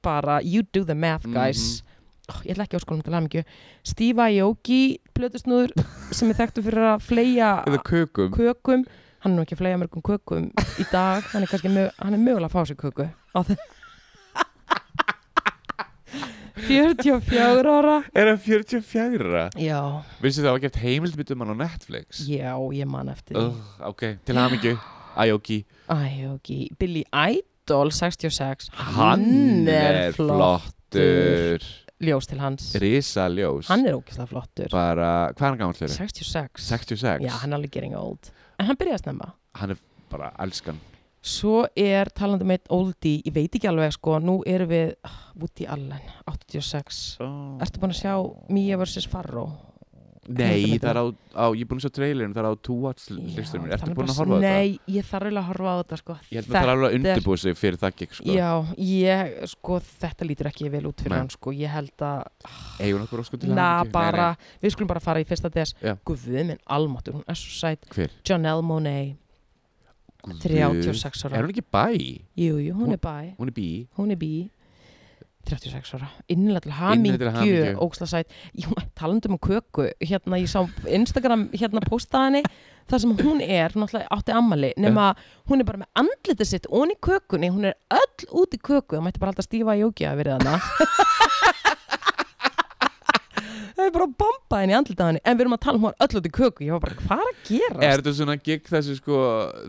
bara you do the Mhm. math guys. oh, ég ætla ekki að óskulum til hamingju. Steve Aoki, plötusnúður sem er þekktu fyrir að fleia eða kökum kökum. Hann er nú ekki að fleia mörgum kökum í dag. Hann er, kannski mög, hann er mögulega að fá sér köku. á þe- 44 ára. er hann 44? Já, vissi það var gert heimildbyttum hann á Netflix já, ég man eftir því. Ugh, ok, til hann ekki Ayoki Æ, ok. Billy Idol 66 Hann er flottur Ljós til hans Risa ljós Hann er ógeðslega flottur bara, Hvað er hann gamall fyrir? 66 66 Já, hann er alveg getting old En hann byrjaði að snemma Hann er bara elskan Svo er talandi meitt oldie Ég veit ekki alveg sko Nú erum við ah, Woody Allen 86 oh. Ertu búin að sjá Mia vs. Farrow? Nei, Myndi- það er á, á Ég er búin að sjá trailerinn, það er á to watch listum Já, það Ertu er búin bara- að horfa á þetta? Nei, ég þarf alveg að horfa á þetta sko Ég held að það er alveg að undirbúið sig fyrir það gekk sko Já, ég sko Þetta lítur ekki vel út fyrir Nei. hann sko Ég held að Eigum okkur óskum til Na, hamingju? bara, við skulum bara fara í fyrsta des Já. Guðið minn almáttur, hún er svo sæt Hver? Janelle Monáe, Guð. 36 Er ára hún ekki bæ? Jú, jú, hún Hún- er bæ, Hún er bí hún er bí 36 ára, innlega til Innilega til hamingju hamingju. ógsta sæt, Jú, talandi um köku hérna, ég sá Instagram hérna postaðinni, það sem hún er hún alltaf átti ammali, nema hún er bara með andlitið sitt, hún í kökunni hún er öll út í köku, það mætti bara alltaf stífa í jóki að verið hana það er bara að bomba henni í andlitið á henni, en við erum að tala um hún var öll út í köku, ég var bara, hvað er að gera Er þetta svona gig þessi sko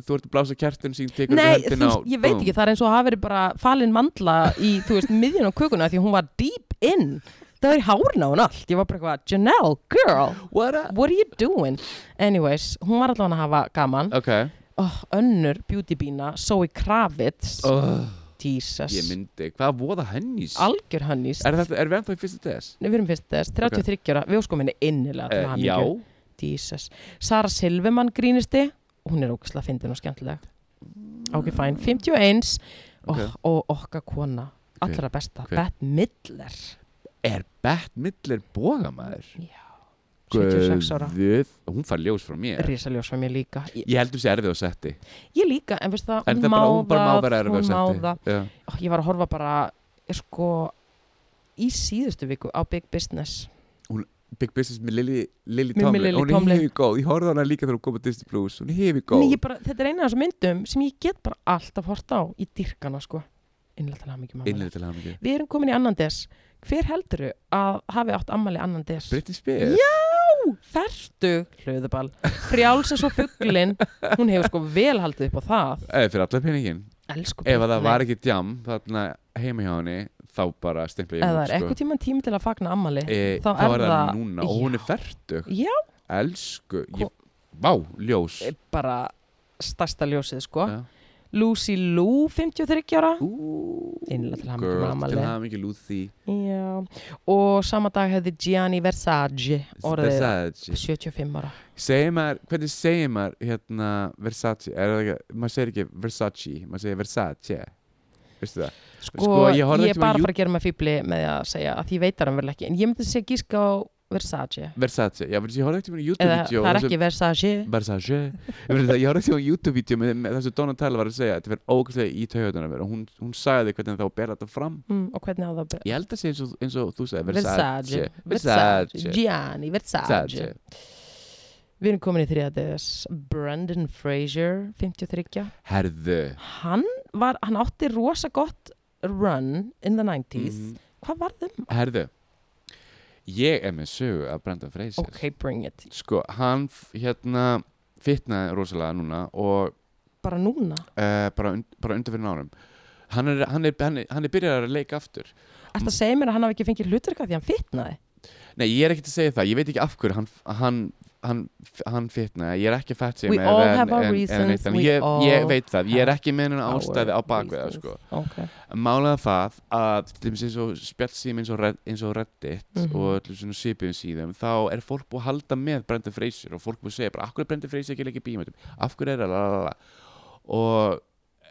Þú ert að blása kertin sín tekur Nei, þú þetta höndina veist, og ég veit búm. ekki, það er eins og að hafa verið bara falin mandla í, þú veist, miðjun á kökuna því að hún var deep in, það var í hárna hún allt, ég var bara eitthvað, Janelle, girl What up? what are you doing? Anyways, hún var allavega að hafa gaman Ok oh, önnur beautybína, Zoe Kravitz oh. Jesus, Ég myndi, hvað voða hennís? algjör hönnis Er, þetta, er við ennþá í fyrsta DS? Nei, við erum fyrst þess, 33 ára, við óskum henni innilega til Eh, hann já, Jesus. Sara Silvemann grínisti hún er ógislega fyndin og skemmtileg ok, fæn, 51 Ok. og, og okka kona allra besta, Hver? Bette Midler er Bett Midler bógamæður? já, 76 ára Guð, hún fær ljós frá mér risaljós var mér líka ég, Ég heldur sé erfið á setti ég líka, en veist það, En það hún er má bara, hún bara má það vera erfið á hún má það setti Já. Ó, ég var að horfa bara, er sko í síðustu viku á Big Business Big Business með Lily, Lily Með- með Tomlin Lily Hún Tomlin. er hefur góð, ég horfði á hana líka þegar hún kom á Disney Plus Hún er hefur góð Nei, ég bara, þetta er eina af þessum myndum sem ég get bara alltaf hort á í dyrkana sko innlega til hamingjum Innlega til hann ekki Við erum komin í annan des. Hver helduru að hafi átt ammali annan des? Britney Spears Já, þertu, hlöðubal. Frjálsins og fugglin, hún hefur sko vel haldið upp á það. Eða fyrir allar peningin Elsku Ef að það var ekki djam þarna heima hjá henni þá bara stempla ég Eða hún, er eitthvað tíma tími til að fagna ammali. e, þá þá, er er það, það- núna og hún er færtug Já. elsku, ég, Ko- vá, ljós Bara Eh, stærsta ljósið sko. Já. Lucy Lou, 53 ára Ú, Innilega til hamingju með girl, afmælið. til hamingju Lucy Já, og sama dag hefði Gianni Versace orðið Versace 75 ára Segir maður, hvernig segir maður hérna Versace, er það ekki, maður segir ekki Versace, maður segir Versace Veistu það? Sko, Sko, ég, ég horfði er ekki á bara að Jú- fara að gera mig fýbli með því að segja að því veitar hann vel ekki en ég myndi segja gíska á Versace Versace, já, veistu, ég horfði ekkert í eða YouTube-vídeó það er þar sem- ekki Versace Versace Ég meina það, ég horfði á YouTube-vídeó með, með þessu Donatella var að segja Þetta verður ógæslega í taugatunum og hún, hún sagði hvernig þá ber þetta fram mm, og hvernig á það ber- Ég held að segja eins og, eins og þú sagði Versace, Versace Versace. Versace Gianni Versace. Versace Við erum komin í þriðadegis Brandon Fraser, 53 Herðu Hann var, hann átti rosa gott run in the 90s Mhm. Hvað um? var þeim? Herðu Ég er með sögu að Brenda Fraser Ok, bring it Sko, hann f- hérna fitnaði rosalega núna og Bara núna uh, bara, und, bara undir fyrir nárum hann er, hann, er, hann, er, hann er byrjar að leika aftur Ertu Mm. að segja mér að hann hafi ekki fengið hluturka því hann fitnaði? Nei, ég er ekkert að segja það, ég veit ekki af hverju hann, hann, hann, hann fitnaði ég er ekki fætt sem We all have our reasons, we ég, ég all veit það, ég er ekki með hennar our ástæði á bakveða reasons. sko. Ok Málega það að til dæmis eins og spjallsým eins og, Red, eins og Reddit Mhm. og allir svona svipuðum síðum þá er fólk búið að halda með Brenda Fraser og fólk búið að segja bara af hverju er Brenda Fraser ekki leikið bímötum af hverju er það la, la, la. og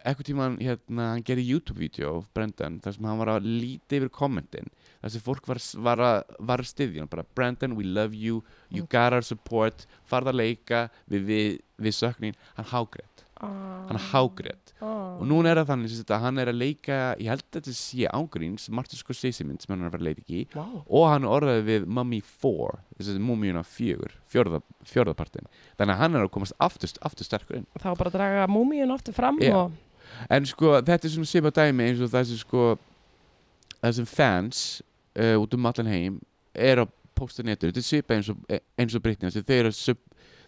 eitthvað tíma hérna, hann gerði YouTube-vídeó Brendan þar sem hann var að líti yfir kommentin þar sem fólk var, var, að, var að styðja hann bara Brendan we love you, you Mm. got our support farða að leika við, við, við söknin hann hágrétt, hann hágrétt ah. og núna er það þannig sem þetta hann er að leika ég held að þetta sé ángríns Martin Scorsese mynd sem hann er að fara að leika í wow. og hann orðaði við Mummy 4 þessi múmíuna 4, fjórða, fjórðapartin þannig að hann er að komast aftur, aftur sterkur inn Þá bara draga múmíun aftur fram Já. og en sko þetta er svona sipa dæmi eins og þessi sko þessum fans uh, út um allan heim er að posta netur þetta er sipa eins og, eins og Britney þessi þeir eru að sub,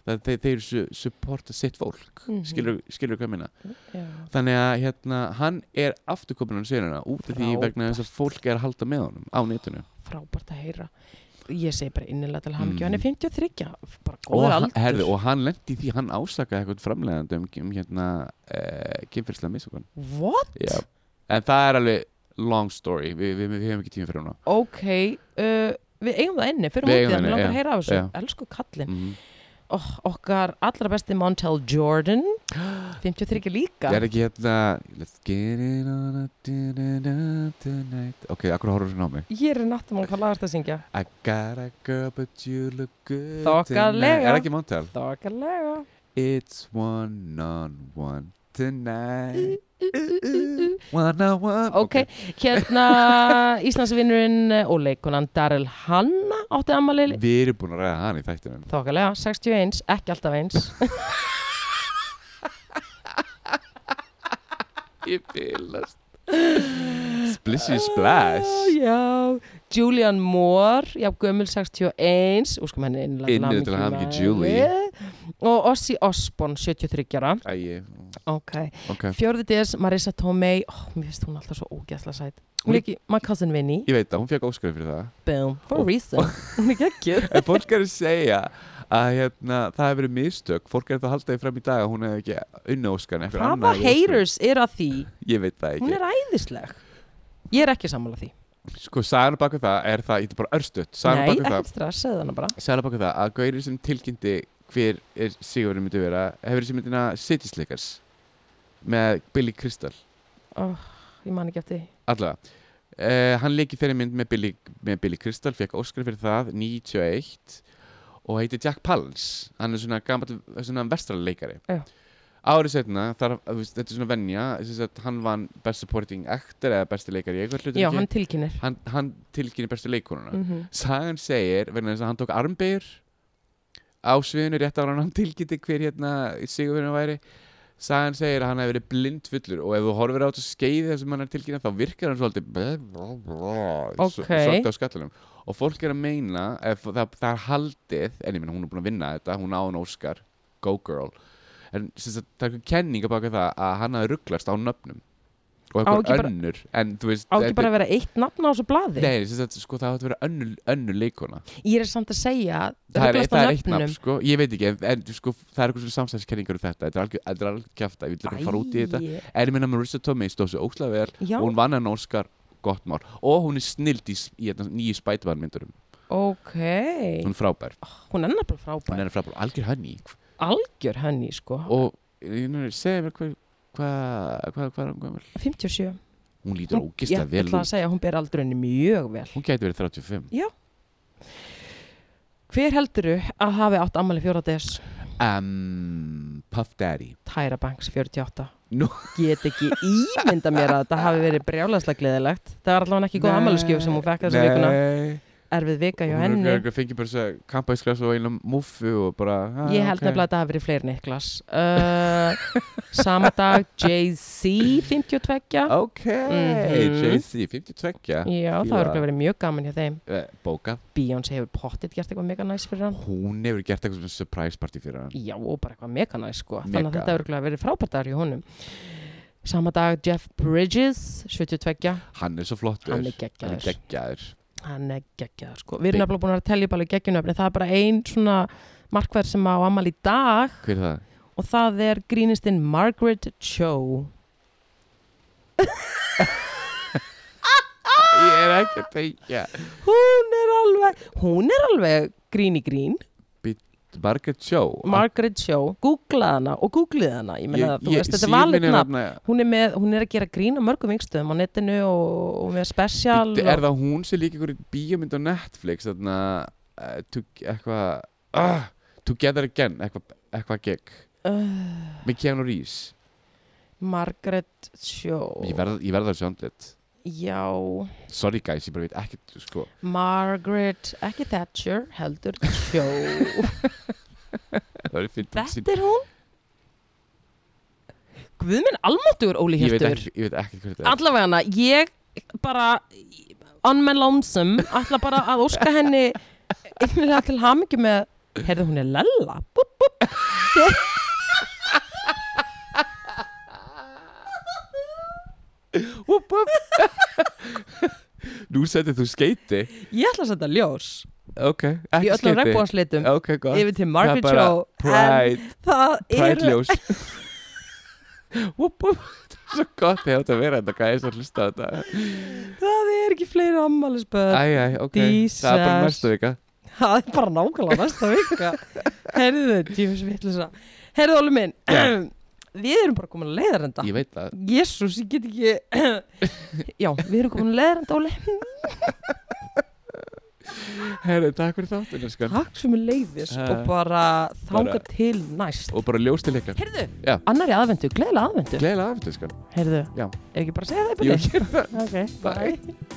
það, þeir, þeir su, supporta sitt fólk Mhm. skilur, skilur hvað ég minna Já. Þannig að hérna, hann er afturkomin á sérina út af því vegna þess að fólk er að halda með honum á netinu. frábært að heyra Ég segi bara innilega til hamingju, Mhm. hann er 53 bara Og góður hann, aldur herðu, og hann lendi því, hann ásakaði eitthvað framlegandi um, um hérna, uh, kynfyrslega misokon. What? Já. En það er alveg long story, Vi, við, við hefum ekki tíma fyrir hana. Ok, uh, við eigum það inni fyrir mútið, Við eigum það hann inni, langar já, að heyra af þessu já. Elsku kallinn, Mm. oh, okkar allra besti Montel Jordan 53 líka Það er ekki hérna, let's get it on a da-da-da tonight. Ok, akkur horfður svona á mig. Ég er í náttum hvað lagast að syngja I got a girl but you look good Þokkalega. tonight. Er ekki mántal? Þokkalega It's one on one tonight. uh, one on one. Ok, hérna Íslandsvinnurinn eh, og leikunan Daryl Hanna átti ammali Við erum búin að ræða hann í þættinum. Þokkalega, 61, ekki alltaf eins Ég bílast. Splishy splash. Já, Julian Moore, já, gömul 61 Úskum henni innlega Innilega til hamingju, Julie. Og Ossi Osborn, 73 ára Æi, Ok, ok. fjörði DS, Marisa Tomei Ó, mér finnst hún alltaf svo ógæsla sæt Hún er ekki, my cousin Vinny Ég Oh. veit það, hún fekk óskarið fyrir það. Boom, for a reason Hún er ekki En fólk er að segja að hérna, það hefur verið mistök. Fólk er það að halda því fram í dag að hún hefði ekki unna óskarið. Hvaða haters er að því? Ég veit það Hún ekki. er æðisleg Ég er ekki sammála því Sko, sagðan baku það er það, ég er bara örstutt. Sagðan Nei, baku það. ekkert stress, segðu hana bara Sæla baka það að gaurið sem tilkynnti hver er sigurinn myndi vera hefur þessi myndina City Slickers með Billy Crystal oh, Ég man ekki eftir því. allavega uh, hann leikir þeirri mynd með Billy, með Billy Crystal fekk Oscar fyrir það 91 og heitir Jack Palance hann er svona, gamall, svona vestraleikari Já. árið setna þar, þú veist, þetta er svona venja þess að hann vann Best Supporting Actor eða besti leikari í eitthvað hlutur Já, hann tilkynir hann, hann tilkynni bestu leikonuna mm Sagan segir, verðin þess að hann tók armbeir á sviðinu rétt ára hann tilkynnti hver hérna sigurvinna væri Sagan segir að hann hefði verið blindfullur og ef þú horfir á þetta skeiði þar sem hann er tilkynnað þá virkar hann svolítið blá, blá, blá, Ok. svo- svolítið á skallanum og fólk er að meina ef, það, það er haldið, en ég meina hún er búin að vinna þetta hún á hann Óskar, Go Girl en sem sagt, það er einhver kenning að baka það að hann hafi rugglast á nöfnum og Á ekki eitthvað bara- önnur en þú veist á ekki þetta- bara að vera eitt nafn á þessu blaði Nei, sem sagt, sko, það átt að vera önnur, önnur leikona ég er samt að segja það er, ruglast á það er nöfnum. eitt nafn, sko Ég veit ekki, en, en sko, það er eitthvað svona samsæðiskenningar um þetta Þetta er algjör- þetta er alveg kjafta, ég vil bara fara út í þetta Æi, En ég minna Marissa Tomei stóð svo óslega vel já, og Hún vann hann Óskar gott mál Og hún er snild í, s- í hérna nýju Spiderman myndurum ok Hún er frábær, hún er nefnilega hún frábær er frábær, algjör hann í algjör henni sko Og, ég meina, segja mér hvað Hvað, hvað, hvað, hvað, 57 hún lítur Hún- ógislega ég vel ætla að út segja hún ber aldrunni mjög vel Hún gæti verið 35 hver helduru að hafi átt ammali 4. des um, Puff Daddy Tyra Banks 48 Nú. get ekki ímynda mér að þetta hafi verið brjálæslega gleðilegt það var allavega ekki góð Nei. ammaliðskjöf sem hún fekk þessu vikuna Nei. erfið vika hjá Hún er henni örugglega fengið bara þess að kampaðisglas og einlega muffu og bara ah, ég held ok. nefnilega að þetta hafi verið fleiri Niklas uh, sama dag Jay-Z 52 Ok, Mhm. JC, 52 já það fíla. var örugglega verið mjög gaman hjá þeim Eh, Bóka, Beyoncé hefur pottit gert eitthvað mega næs fyrir hann hún hefur gert eitthvað svona surprise party fyrir hann já og bara eitthvað mega næs sko þannig að Mega. þetta hefur örugglega verið frábært dagur hjá honum sama dag Jeff Bridges 72 Hann er svo flottur hann er Hann er geggjaður geggjaður hann er geggjaður sko við erum Big- nefnilega búin að vera að telja upp alveg geggjunöfni það er bara ein svona markvær sem á amal í dag Hver er það? og það er grínistinn Margaret Cho Ég er ekki að tegja hún er alveg hún er alveg grín í grín Margaret Cho Margaret Cho, googlað hana og googlið hana ég meina Ég- þú ég- veist, þetta er síminn valið nafn þarna- hún er, með, hún er að gera grín á mörgum vingstöðum á netinu og, og með special Bíddu, Er það hún sem líka einhverjum bíómynd á Netflix þarna eh, to- eitthvað ah, Together Again eitthvað eitthvað gegg og, uh, með Keanu Reeves Margaret Cho Ég verð, ég verð að sjá andlit já, Sorry guys, ég bara veit ekkert sko. Margaret ekki Thatcher, heldur Cho Það er fint að sín- Þetta er hún? Guð minn almáttugur Óli Ég veit Hjartur ekki, ég veit ekki hvað þetta er Allavega hana, ég bara on my lonesome ætla bara að óska henni innlega til hamingju með Heyrðu, hún er Lella búp, búp. Úpp, úpp Nú setið þú skeiti Ég ætla að setja ljós Ok, í ekki öllum skeiti regnbúanslitum Ok, gott yfir til Margaret Það er bara Cho en Pride, það pride eru ljós Úpp, úpp Það er svo gott þegar þetta vera þetta Hvað er svo að hlusta á þetta það er ekki fleiri ammælisböð Æ, æ, ok Það er bara Jesus. næstu vika það er bara nákvæmlega næsta vika Heyrðu, tífus vitlisa Heyrðu, Óli minn Já. við erum bara komin að leiðarenda Ég veit það Jésús, ég get ekki Já, við erum komin að leiðranda Óli Herri, takk fyrir þáttinu sko Takk sem er leiðis Ha. og bara þanga Eh. Bara- til næst Og bara ljós til ykkar Heyrðu, Já. annari aðvendu, gleðilega aðvendu Gleðilega aftur sko Heyrðu, Já. er ekki bara að segja það í Jú, byrni? ég er það Ok, Bye. bye